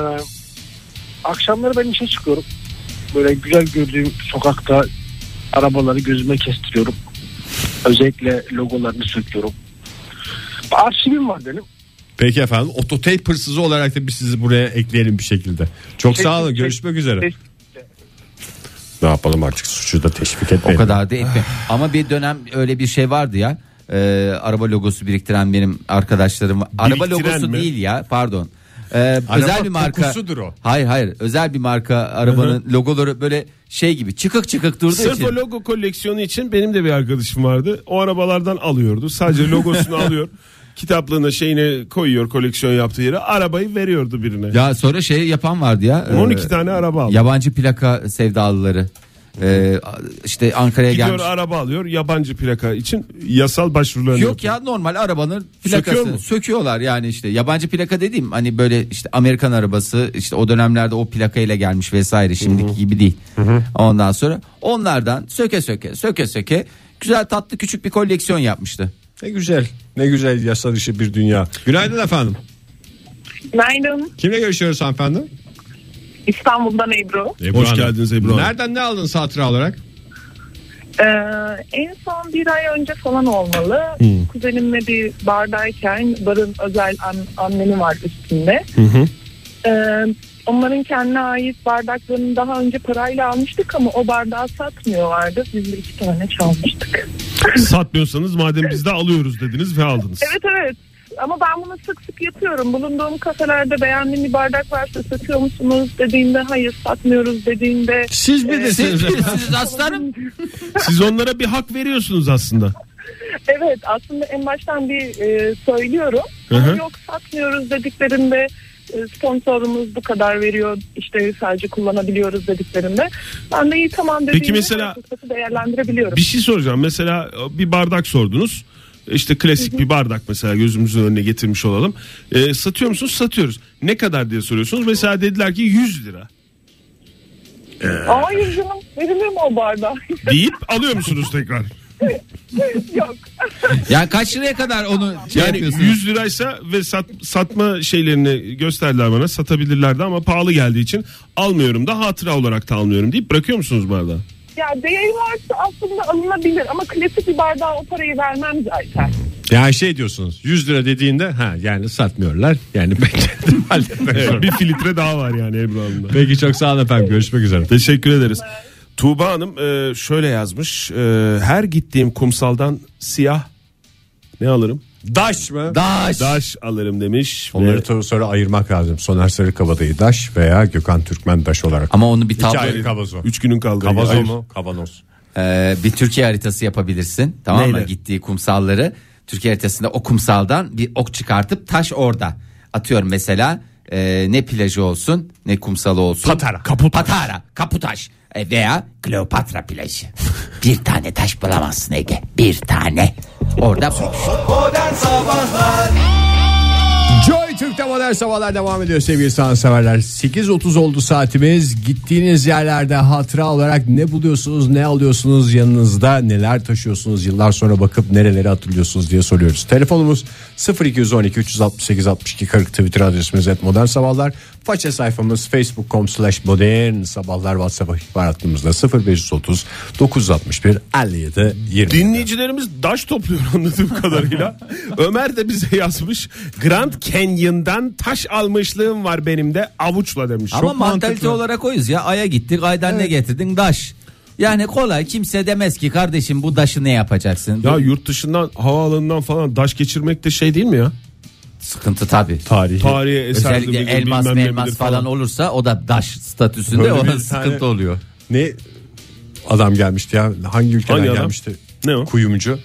akşamları ben işe çıkıyorum. Böyle güzel gördüğüm sokakta arabaları gözüme kestiriyorum. Özellikle logolarını söküyorum. Arşivim var benim. Peki efendim ototeyp hırsızı olarak da biz sizi buraya ekleyelim bir şekilde. Çok sağ olun Teşekkür- görüşmek üzere. teşekkür- Ne yapalım artık suçu da teşvik O etmeyelim. kadar da etme. Ama bir dönem öyle bir şey vardı ya. Ee, araba logosu biriktiren benim arkadaşlarım. var. Araba Biriktiren logosu mi? değil ya pardon. Ee, Araba özel bir marka. kokusudur o. Hayır hayır. Özel bir marka arabanın logoları böyle şey gibi çıkık çıkık durduğu Sırf için. o logo koleksiyonu için benim de bir arkadaşım vardı. O arabalardan alıyordu. Sadece *laughs* logosunu alıyor. Kitaplığına şeyine koyuyor koleksiyon yaptığı yere. Arabayı veriyordu birine. Ya sonra şey yapan vardı ya. 12 Ee, tane araba aldı. Yabancı plaka sevdalıları. Ee, işte Ankara'ya Gidiyor gelmiş. araba alıyor yabancı plaka için yasal başvurularını Yok ya normal arabanın plakası Söküyor mu? söküyorlar yani işte yabancı plaka dediğim hani böyle işte Amerikan arabası işte o dönemlerde o plakayla gelmiş vesaire şimdiki gibi değil. Ondan sonra onlardan söke söke söke söke güzel tatlı küçük bir koleksiyon yapmıştı. Ne güzel. Ne güzel yasa dışı bir dünya. Günaydın efendim. Günaydın. Kimle görüşüyoruz hanımefendi? İstanbul'dan Ebru. Ebru Hoş Hanım. geldiniz Ebru Hanım. Nereden ne aldınız hatıra olarak? Ee, en son bir ay önce falan olmalı. Kuzenimle bir bardayken barın özel an- annemi var üstünde. Ee, onların kendine ait bardaklarını daha önce parayla almıştık ama o bardağı satmıyorlardı. Biz de iki tane çalmıştık. *laughs* Satmıyorsanız madem biz de alıyoruz dediniz ve aldınız. Evet evet. Ama ben bunu sık sık yapıyorum. Bulunduğum kafelerde beğendiğim bir bardak varsa satıyor musunuz dediğimde hayır satmıyoruz dediğimde Siz mi desiniz? Siz *laughs* aslanım. Hmm, Siz onlara bir hak veriyorsunuz aslında. Evet aslında en baştan bir e, söylüyorum. Ama Hı hı. yok satmıyoruz dediklerinde e, sponsorumuz bu kadar veriyor işte sadece kullanabiliyoruz dediklerinde ben de iyi tamam dediğimde Peki mesela- fırsatı değerlendirebiliyorum. Bir şey soracağım. Mesela e, bir bardak sordunuz. İşte klasik bir bardak mesela gözümüzün önüne getirmiş olalım. Ee, satıyor musunuz? Satıyoruz. Ne kadar diye soruyorsunuz. Mesela dediler ki 100 lira. Hayır canım verilir mi o bardağı? Deyip alıyor musunuz tekrar? yok. Ya kaç liraya kadar onu şey Yani yapıyorsunuz? 100 liraysa ve sat, satma şeylerini gösterdiler bana. Satabilirlerdi ama pahalı geldiği için almıyorum da hatıra olarak da almıyorum deyip bırakıyor musunuz bardağı? Ya değeri varsa aslında alınabilir ama klasik bir bardağa o parayı vermem zaten. Yani şey diyorsunuz 100 lira dediğinde ha yani satmıyorlar. Yani bekledim halletmek Evet, zorunda. bir filtre daha var yani Ebru Hanım'da. Peki çok sağ olun efendim görüşmek üzere. Teşekkür ederiz. Tuğba Hanım e, şöyle yazmış. e, her gittiğim kumsaldan siyah ne alırım? Daş mı? Daş. Daş alırım demiş. Onları Ve tabii sonra ayırmak lazım. Soner Sarıkabadayı Daş veya Gökhan Türkmen Daş olarak. Ama onu bir tablo, ayrı kabazo. üç günün kaldı. Kabazo Hayır. mu? Kavanoz. Ee, bir Türkiye haritası yapabilirsin. Tamam mı? Neyle? Gittiği kumsalları Türkiye haritasında o kumsaldan bir ok çıkartıp taş orada. Atıyorum mesela e, ne plajı olsun ne kumsalı olsun. Patara. Kaputaş. Patara. Kaputaş. E, veya Kleopatra plajı. bir tane taş bulamazsın Ege. Bir tane. Orada Joy Türk'te modern sabahlar devam ediyor sevgili sanatseverler. 8.30 oldu saatimiz. Gittiğiniz yerlerde hatıra olarak ne buluyorsunuz, ne alıyorsunuz yanınızda, neler taşıyorsunuz, yıllar sonra bakıp nereleri hatırlıyorsunuz diye soruyoruz. Telefonumuz 0212 368 62 40 Twitter adresimiz et modern sabahlar. Faça sayfamız facebook.com slash modern sabahlar WhatsApp ihbar hattımızda 0530 961 57 20. Dinleyicilerimiz daş topluyor anladığım kadarıyla. Ömer de bize yazmış. Grand Canyon'dan taş almışlığım var benim de avuçla demiş. Ama mantalite olarak oyuz ya. Ay'a gittik. Ay'dan ne getirdin? Daş. Yani kolay kimse demez ki kardeşim bu daşı ne yapacaksın? Ya yurt dışından havaalanından falan daş geçirmek de şey değil mi ya? Sıkıntı tabii. Tarihi. Tarihi eser Özellikle midir, elmas bilmem ne elmas midir falan, olursa o da daş statüsünde Böyle bir ona tane- *laughs* sıkıntı oluyor. Ne adam gelmişti ya hangi ülkeden Hangi adam? gelmişti? Ne o? Hmm. Kuyumcu.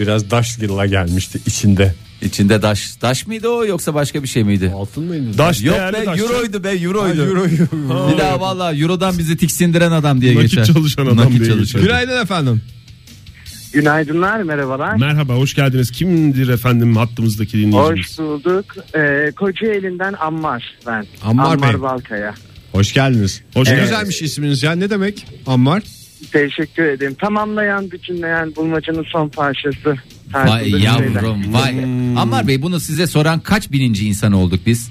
Biraz Daşgır'la gelmişti içinde. İçinde daş daş mıydı o yoksa başka bir şey miydi? Altın mıydı? Daş Yok değerli be taş. euroydu be euroydu. Bir daha valla eurodan bizi tiksindiren adam diye Nakit geçer. çalışan adam diye geçer. Günaydın efendim. Günaydınlar, merhabalar. Merhaba hoş geldiniz. Kimdir efendim hattımızdaki dinleyicimiz? Hoş bulduk. Ee, Kocaeli'nden Ammar ben. Ammar Bey. Balkaya. Hoş geldiniz. Hoş Ne geldiniz. Güzelmiş isminiz ya ne demek? Ammar. Teşekkür ederim. Tamamlayan, bütünleyen bulmacanın son parçası. Vay Tarzında bir şeyler. yavrum vay. Ammar Bey bunu size soran kaç bininci insan olduk biz?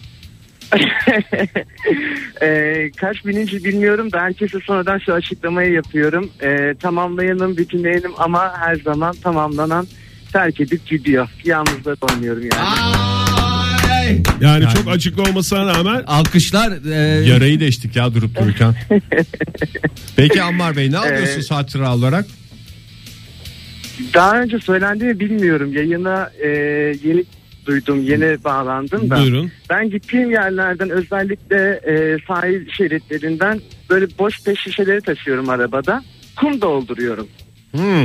*laughs* Ee, kaç bininci bilmiyorum da herkese sonradan şu açıklamayı yapıyorum. Ee, tamamlayanım, bütünleyenim ama her zaman tamamlanan terk edip gidiyor. Yalnızda oynuyorum yani. Yani, çok açıklı olmasına rağmen Alkışlar e, *laughs* Yarayı deştik ya durup dururken. Peki Ammar Bey ne alıyorsunuz hatıra olarak? Daha önce söylendi mi bilmiyorum. Yayına e, yeni duydum, yeni bağlandım da. buyurun. Ben gittiğim yerlerden özellikle e, sahil şeritlerinden böyle boş pet şişeleri taşıyorum arabada. Kum dolduruyorum.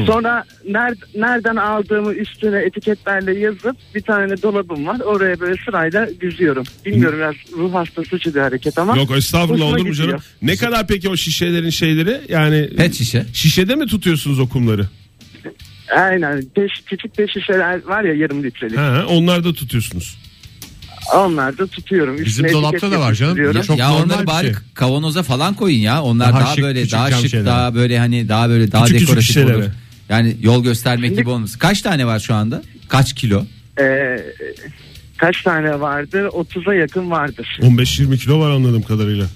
Sonra ner- nereden aldığımı üstüne etiketlerle yazıp bir tane dolabım var. Oraya böyle sırayla düzüyorum. Bilmiyorum biraz ruh hastası bir hareket ama. Yok estağfurullah Hoşuma olur mu canım? gidiyor. Ne kadar peki o şişelerin şeyleri yani pet şişe. şişede mi tutuyorsunuz o kumları? Aynen. Beş, küçük beş şişeler var ya yarım litrelik. Ha, onlar da tutuyorsunuz. Onlar da tutuyorum. Üstüne Bizim dolapta etiket da var canım. yapıştırıyorum. Ya, Çok ya normal onları bir bari şey. kavanoza falan koyun ya. Onlar Daha daha, şık, böyle küçük daha cam şık, şeyler. daha böyle hani daha böyle daha Küçük küçük dekoratif şişelere. olur. Yani yol göstermek Şimdi- gibi olmuş. Kaç tane var şu anda? Kaç kilo? Ee, kaç tane vardır? 30'a yakın vardır. 15-20 kilo var anladığım kadarıyla.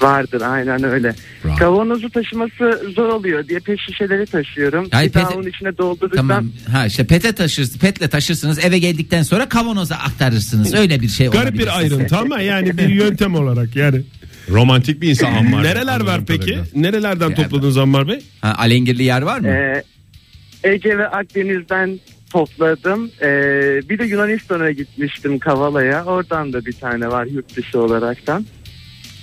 Vardır aynen öyle. Bravo. Kavanozu taşıması zor oluyor diye pet şişeleri taşıyorum. Hayır, bir daha pet- onun içine doldurursam Tamam. Ha işte pete taşırsınız, petle taşırsınız. Eve geldikten sonra kavanoza aktarırsınız. Öyle bir şey Garip olabilir. bir ayrıntı ama yani bir yöntem olarak yani. Romantik bir *laughs* insan Ammar. Nereler var Anladığım peki? kadarıyla. Nerelerden Yerden. topladınız Ammar Bey? Ha, alengirli yer var mı? e, Ege ve Akdeniz'den topladım. E, bir de Yunanistan'a gitmiştim Kavala'ya. Oradan da bir tane var yurt dışı olaraktan.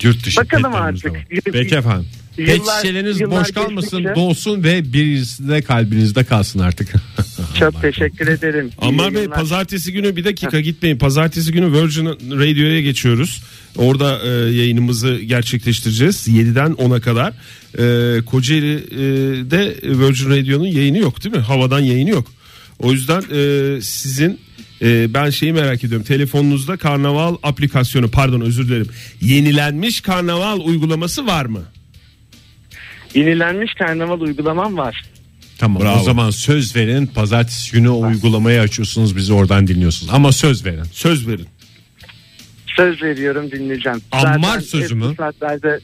Yurt dışı Bakalım petlerimiz de artık. var. Peki efendim. Pet Yıllar- şişeleriniz yıllar boş kalmasın, geçtikçe- dolsun ve birisi de kalbinizde kalsın artık. Çok teşekkür ederim. İyi Ammar Bey yayınlar. pazartesi günü bir dakika gitmeyin. Pazartesi günü Virgin Radio'ya geçiyoruz. Orada e, yayınımızı gerçekleştireceğiz. 7'den 10'a kadar. E, Kocaeli'de e, Virgin Radio'nun yayını yok değil mi? Havadan yayını yok. O yüzden e, sizin e, ben şeyi merak ediyorum. Telefonunuzda karnaval aplikasyonu pardon özür dilerim. Yenilenmiş karnaval uygulaması var mı? Yenilenmiş karnaval uygulamam var. Tamam Bravo. o zaman söz verin pazartesi günü o uygulamayı açıyorsunuz bizi oradan dinliyorsunuz ama söz verin. Söz verin. Söz veriyorum dinleyeceğim. Ammar Zaten sözü hep mü? bu Saatlerde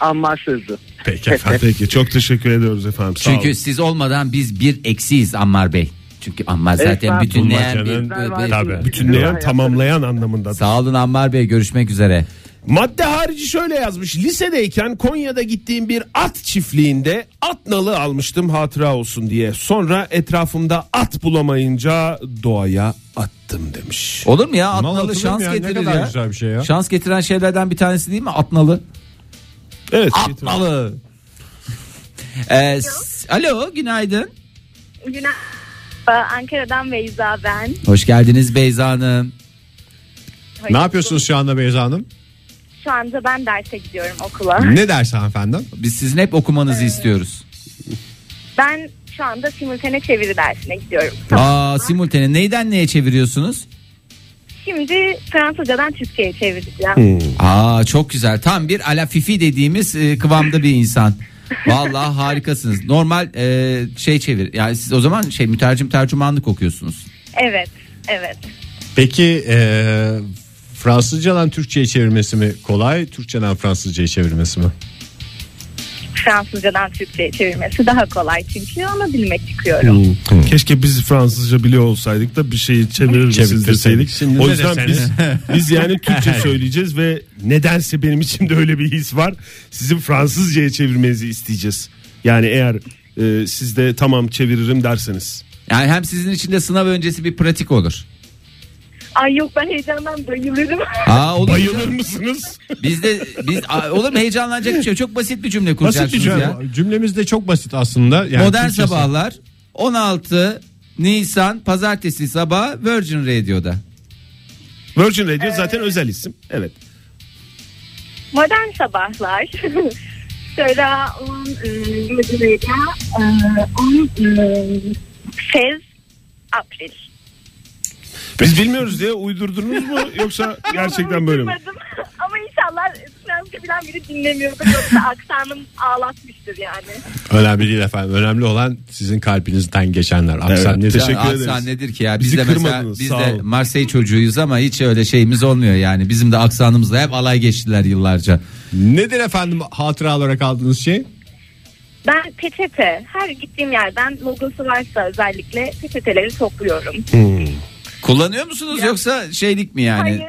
Ammar sözü. Peki efendim. Peki çok teşekkür ediyoruz efendim. Sağ Çünkü olun. siz olmadan biz bir eksiyiz Ammar Bey. Çünkü Ammar zaten Estağfurullah bütünleyen bir, canım. Sizler bir- varsınız. bütünleyen tamamlayan anlamında. Sağ olun Ammar Bey görüşmek üzere. Madde harici şöyle yazmış. Lisedeyken Konya'da gittiğim bir at çiftliğinde at nalı almıştım hatıra olsun diye. Sonra etrafımda at bulamayınca doğaya attım demiş. Olur mu ya Mal atnalı şans atılır mı ya? Ne getirir kadar ya. güzel bir şey ya. Şans getiren şeylerden bir tanesi değil mi atnalı? Evet. Atmalı. Ee, s- alo günaydın. Günaydın. Ee, Ankara'dan Beyza ben. Hoş geldiniz Beyza Hanım. Hoş Ne yapıyorsunuz şu anda Beyza Hanım? bulduk. Şu anda ben derse gidiyorum okula. Ne dersi hanımefendi? Biz sizin hep okumanızı istiyoruz. Ben şu anda simultane çeviri dersine gidiyorum. Aa simultane neyden neye çeviriyorsunuz? Şimdi Fransızcadan Türkçe'ye çevireceğim. Hmm. Aa çok güzel. Tam bir ala fifi dediğimiz e, kıvamda bir insan. *laughs* Vallahi harikasınız. Normal e, şey çevir. Yani siz o zaman şey mütercim tercümanlık okuyorsunuz. Evet, evet. Peki eee, Fransızcadan Türkçe'ye çevirmesi mi kolay, Türkçeden Fransızca'ya çevirmesi mi? Fransızcadan Türkçe'ye çevirmesi daha kolay çünkü onu bilmek çıkıyorum. Keşke biz Fransızca biliyor olsaydık da bir şeyi çevirir misiniz Çevirtirseydik. deseydik. Şimdi o ne yüzden desene? biz, *laughs* biz yani Türkçe söyleyeceğis ve nedense benim içimde öyle bir his var. Sizin Fransızcaya çevirmenizi isteyeceğiz. Yani eğer e, siz de tamam çeviririm derseniz. Yani hem sizin için de sınav öncesi bir pratik olur. Ay yok ben heyecandan *laughs* bayılırım. Aa olur. Bayılır mısınız? Biz de biz a- olur mu heyecanlanacak bir şey. yok. Çok basit bir cümle Basit bir kuracaksınız cümle. ya. Cümlemiz de çok basit aslında. Yani Modern Türkçesi- sabahlar 16 Nisan pazartesi sabahı Virgin Radio'da. Virgin Ee, Radio zaten özel isim. Evet. Modern sabahlar. *laughs* Sonra on Madure'de on e, Fez April. Biz bilmiyoruz diye uydurdunuz mu *laughs* yoksa gerçekten böyle mi? *laughs* Uydurmadım. Ama inşallah Fransızca bilen biri dinlemiyordur. Yoksa aksanım ağlatmıştır yani. Önemli değil efendim. Önemli olan sizin kalbinizden geçenler. Aksan Evet, ne- teşekkür Ya aksan ederiz. nedir ki ya? Biz Bizi de mesela kırmadınız, biz sağ de olun. Marseille çocuğuyuz ama hiç öyle şeyimiz olmuyor yani. Bizim de aksanımızla hep alay geçtiler yıllarca. Nedir efendim hatıra olarak aldığınız şey? Ben peçete her gittiğim yerden logosu varsa özellikle peçeteleri topluyorum. Kullanıyor musunuz yoksa şeylik mi yani? Hayır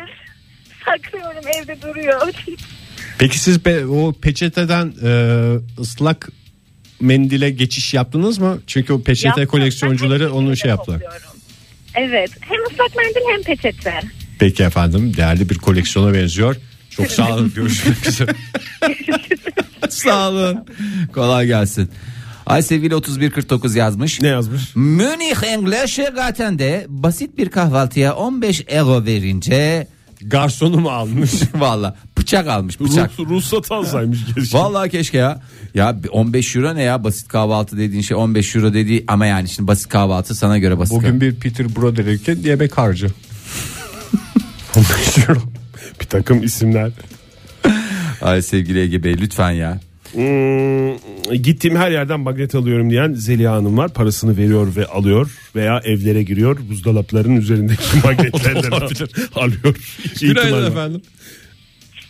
saklıyorum evde duruyor. Peki siz pe- o peçeteden e, ıslak mendile geçiş yaptınız mı? Çünkü o peçete Yaptım. Ben koleksiyoncuları peçeteleri onu şey yaptılar. topluyorum. Evet hem ıslak mendil hem peçete. Peki efendim değerli bir koleksiyona benziyor. Çok sağ *laughs* olun görüşmek *laughs* üzere. Sağ olun. Kolay gelsin. Ay sevgili 3149 yazmış. Ne yazmış? Münih English de basit bir kahvaltıya 15 euro verince Garsonu mu almış? *laughs* valla bıçak almış bıçak. Ruhs- ruhsat *laughs* alsaymış keşke. Vallahi keşke ya. Ya 15 euro ne ya basit kahvaltı dediğin şey 15 euro dediği ama yani şimdi basit kahvaltı sana göre basit. Bugün bir Peter Broderick'in yemek harcı. bir takım isimler. Ay sevgili Ege Bey lütfen ya. Hmm, gittiğim her yerden magnet alıyorum diyen Zeliha Hanım var. Parasını veriyor ve alıyor veya evlere giriyor. Buzdolaplarının *laughs* üzerindeki magnetlerden alıyor. İki ihtimal var. Günaydın efendim.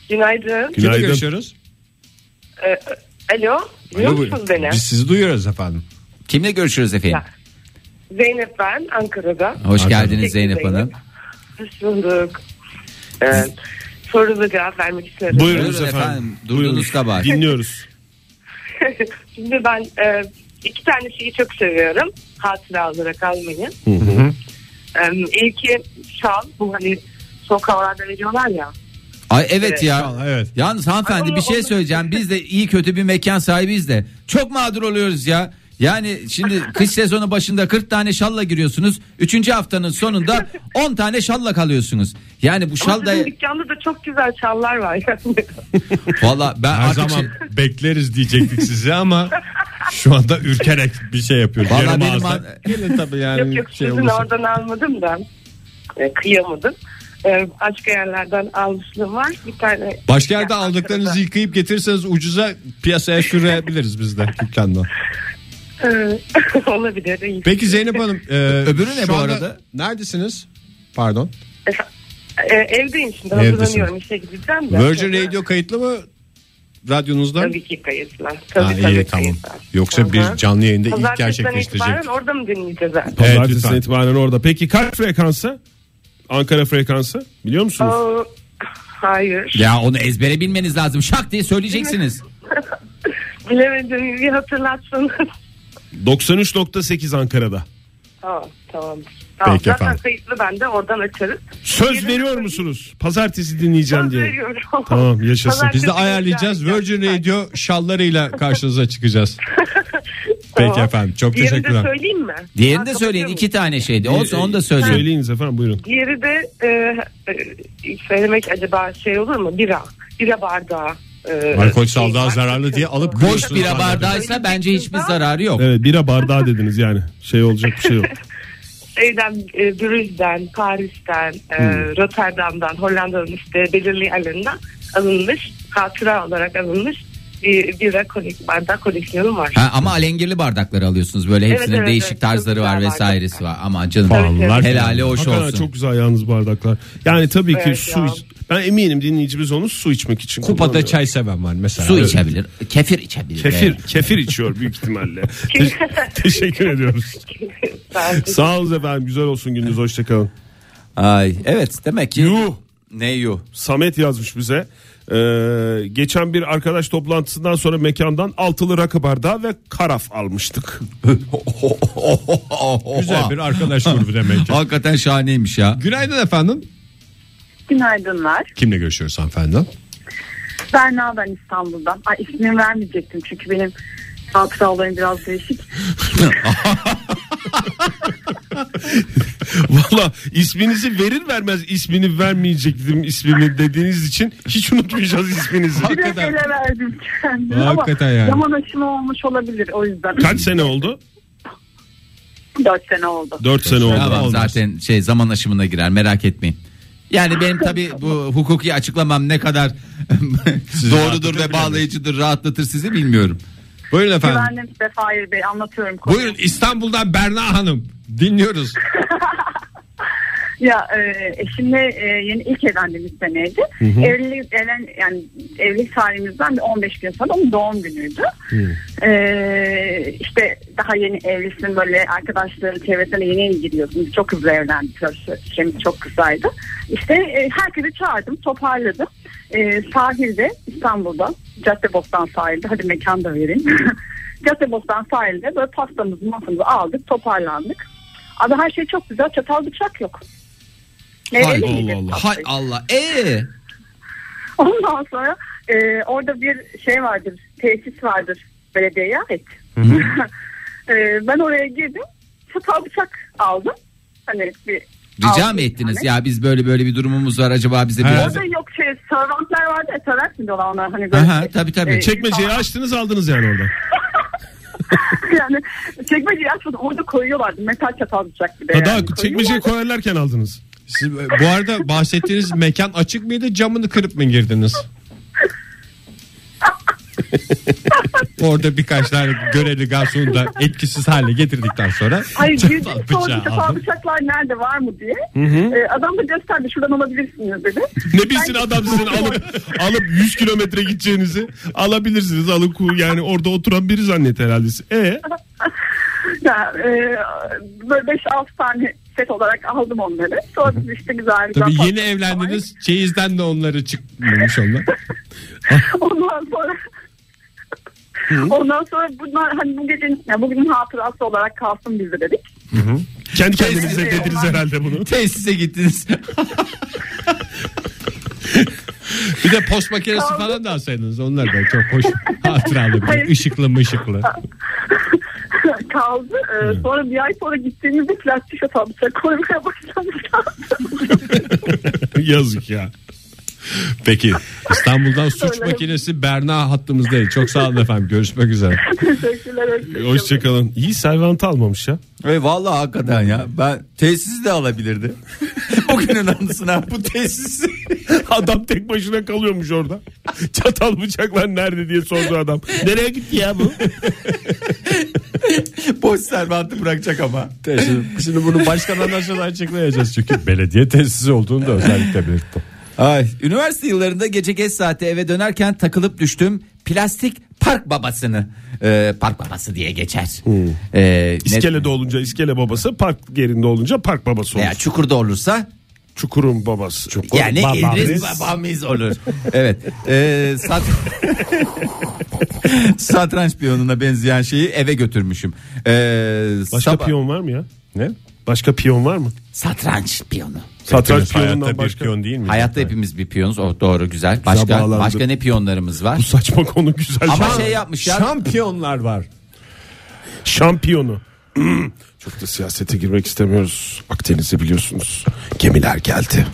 Günaydın. Kimle Günaydın. görüşüyoruz? Ee, alo. Duyuyor Alo, musunuz beni? Biz sizi duyuyoruz efendim. Kimle görüşürüz efendim? Zeynep ben Ankara'da. Hoş Hakan. geldiniz Teşekkür Zeynep ederim. Hanım. Hoş bulduk. Ee, sorunuza cevap vermek isterim. Buyurunuz Buyurun efendim. efendim, durduğunuz Buyurunuz. kabahat. Dinliyoruz. *laughs* Şimdi ben e, iki tane şeyi çok seviyorum. Hatıra olarak almayı. Ee, ilki şal. Bu hani sokaklarda veriyorlar ya. Ay evet ya. Vallahi Evet. Yalnız hanımefendi Ama bir şey onu- söyleyeceğim. Biz de iyi kötü bir mekan sahibiyiz de çok mağdur oluyoruz ya. Yani *laughs* şimdi kış sezonu başında 40 tane şalla giriyorsunuz. 3. haftanın sonunda 10 tane şalla kalıyorsunuz. Yani bu Ama şal da sizin dükkanda da çok güzel şallar var. *laughs* Yani. valla ben Her artık zaman şey- bekleriz diyecektik sizi ama şu anda ürkerek bir şey yapıyoruz. Vallahi Yarım benim ağızdan. an- Gelin tabii yani yok yok şey sizin olursa. oradan almadım da. Ee, kıyamadım. Ee, başka yerlerden almışlığım var. Bir tane Başka yerde Ya, aldıklarınızı Ankara'da. yıkayıp getirirseniz ucuza piyasaya sürebiliriz biz de dükkandan. Ee, *laughs* olabilir. iyi. Peki Zeynep Hanım. e, Öbürü ne şu bu anda arada? Neredesiniz? Pardon. Ee, evdeyim şimdi Evdesin. hazırlanıyorum işe gideceğim de. Virgin Radio kayıtlı mı radyonuzda? Tabii ki kayıtlar. Tabii Ha, iyi, tabii tamam. kayıtlar. Yoksa Aha. bir canlı yayında ilk Pazartesiden gerçekleştirecek. itibaren orada mı dinleyeceğiz artık? Evet, Pazartesinden lütfen. itibaren orada. Peki kaç frekansı? Ankara frekansı biliyor musunuz? Aa, hayır. ya onu ezbere bilmeniz lazım. Şak diye söyleyeceksiniz. Bilemedim. Bir hatırlatsanız. 93.8 Ankara'da. *laughs* tamam. Tamam. tamam. Peki Zaten efendim. kayıtlı ben de oradan açarız. Söz veriyor musunuz? Pazartesi dinleyeceğim şey- Söz diye. veriyorum. Tamam, yaşasın. Biz Pazartesi de ayarlayacağız. dinleyeceğim. Virgin Radio şallarıyla karşınıza çıkacağız. Tamam. Peki efendim çok Diğerini teşekkürler. de söyleyeyim mi? Diğerini de Ha, söyleyin. kapatıyor iki tane şeydi. Olsun Ee, onu da söyleyin. Söyleyiniz efendim buyurun. Diğeri de e, e, söylemek acaba şey olur mu? Bira. Bira bardağı. E, Alkol şey, sağlığa var. zararlı diye alıp Boş koyuyorsunuz bira hala. bardağıysa bence hiçbir zararı yok. Evet bira bardağı dediniz yani. Şey olacak bir şey yok. Şeyden, e, Brüj'den, Paris'ten, e, Hmm. Rotterdam'dan, Hollanda'nın işte belirli yerlerinden alınmış, hatıra olarak alınmış bir bira konik bardak koleksiyonum var. Ha, ama alengirli bardakları alıyorsunuz. Böyle Evet, hepsinin evet, değişik evet. tarzları Çok var güzel vesairesi var. Ama canım Vallahi helali hoş Hakikaten olsun. çok güzel yalnız bardaklar. Yani tabii ki Evet su ya. iç- ben eminim dinleyicimiz onu su içmek için Kupada kullanıyor. çay seven var mesela. Su Evet. içebilir. Kefir içebilir. Kefir, Evet. kefir içiyor büyük *laughs* ihtimalle. Te- Teşekkür ediyoruz. Sadece- Sağ olun efendim. Güzel olsun gününüz. Hoşçakalın. Ay evet demek ki Yuh. *laughs* ne yuh. Samet yazmış bize. Ee, geçen bir arkadaş toplantısından sonra mekandan altılı rakı bardağı ve karaf almıştık. *laughs* Güzel bir arkadaş grubu demek ki. Hakikaten şahaneymiş ya. Günaydın efendim. Günaydınlar. Kimle görüşüyoruz hanımefendi? Berna ben İstanbul'dan. Ay ismini vermeyecektim çünkü benim hatıralarım biraz değişik. Valla isminizi verir vermez ismini vermeyecektim ismimi dediğiniz için hiç unutmayacağız isminizi. Biraz ele verdim kendimi ama Hakikaten yani. zaman aşımı olmuş olabilir o yüzden. Kaç sene oldu? 4 sene oldu. 4 sene oldu. Tamam Olmaz. zaten şey zaman aşımına girer merak etmeyin. Yani benim *laughs* tabi bu hukuki açıklamam ne kadar doğrudur ve bağlayıcıdır rahatlatır sizi bilmiyorum. Buyurun efendim. Güvenli Sefahir Bey anlatıyorum. konuyu. Buyurun İstanbul'dan Berna Hanım. Dinliyoruz. Ya e, eşimle e, yeni ilk evlendiğimiz seneydi. Evlilik evlen yani evlilik tarihimizden bir 15 gün sonra onun doğum günüydü. E, işte daha yeni evlisin böyle arkadaşların çevresine yeni yeni giriyorsun. Biz çok hızlı evlendik. Şeyimiz çok kısaydı. İşte e, herkesi çağırdım, toparladım. E, sahilde İstanbul'da Caddebostan sahilde hadi mekan da vereyim. *laughs* Caddebostan sahilde böyle pastamızı masamızı aldık toparlandık. Abi her şey çok güzel. Çatal bıçak yok. Hay Nereli Allah miydi? Hay Allah. Ee, Ondan sonra e, orada bir şey vardır. Tesis vardır. Belediyeye ait. *laughs* E, ben oraya girdim. Çatal bıçak aldım. Hani bir rica aldım mı bir ettiniz tane. ya biz böyle böyle bir durumumuz var acaba bize biraz. Orada yok şey servantlar vardı ya servant mı diyorlar ona hani böyle. Aha, tabii tabii. Şey, Ee, Çekmeceyi açtınız aldınız yani oradan. *laughs* yani çekmeceyi açmadım orada koyuyorlardı metal çatal bıçak bir de. Ha, daha yani. çekmeceyi Koyuyorlardı. koyarlarken aldınız. Siz, e, bu arada bahsettiğiniz mekan açık mıydı? Camını kırıp mı *laughs* girdiniz? Orada birkaç tane görevli garsonu da etkisiz hale getirdikten sonra Hayır çatal girdim sordum bıçağı çatal aldım. bıçaklar nerede var mı diye. Ee, adam da gösterdi şuradan alabilirsiniz dedi. Ne bilsin adam sizin alıp alıp 100 kilometre gideceğinizi alabilirsiniz. Alıp ku- yani orada oturan biri zannet herhalde. E Ya, e, böyle 5-6 tane set olarak aldım onları. Sonra biz işte güzel güzel. Tabii yeni patladık. evlendiniz. Çeyizden de onları çıkmamış onlar. *laughs* Ondan sonra Ondan sonra bunlar hani bu gecenin ya bugünün hatırası olarak kalsın bizde dedik. kendi kendinize dediniz herhalde bunu. Tesise gittiniz. Bir de post makinesi falan da alsaydınız. Onlar da çok hoş hatıralı. Böyle. Hayır. Işıklı mışıklı. Kaldı. Ee, sonra bir ay sonra gittiğimizde plastik atabıça koymaya *laughs* başlamışlar. Yazık ya. Peki İstanbul'dan suç Öyle. makinesi Berna hattımızdaydı. Çok sağ olun efendim. Görüşmek üzere. Teşekkürler. Hoşçakalın. İyi servantı almamış ya. *laughs* Ve vallahi hakikaten ya. Ben tesisi *laughs* de alabilirdi. Bugünün anısına bu tesisi. Adam tek başına kalıyormuş orada. Çatal bıçaklar nerede diye sordu adam. Nereye gitti ya bu? Boş servantı bırakacak ama. Şimdi bunu başkan anlaşılan açıklayacağız. Çünkü belediye tesisi olduğunu da özellikle belirttim. Ay, üniversite yıllarında gece geç saatte eve dönerken takılıp düştüm. Plastik park babasını. Ee, park babası diye geçer. Ee, ne- İskelede olunca iskele babası, park yerinde olunca park babası olur. veya çukurda olursa Çukurun babası. Çukur yani İdris babamız olur. evet. Ee, *laughs* sat... Satranç piyonuna benzeyen şeyi eve götürmüşüm. Ee, Başka sabah- piyon var mı ya? Ne? Başka piyon var mı? Satranç piyonu. Satranç Hayatta piyonundan bir başka. piyon değil mi? Hayatta hepimiz bir piyonuz. Oh, doğru güzel. Başka bağlandı. başka ne piyonlarımız var? Saçma konu güzel. Ama Şam- şey yapmışlar. Şampiyonlar var. *clears throat* şampiyonu. Çok da siyasete girmek istemiyoruz. Akdeniz'i biliyorsunuz. Gemiler geldi.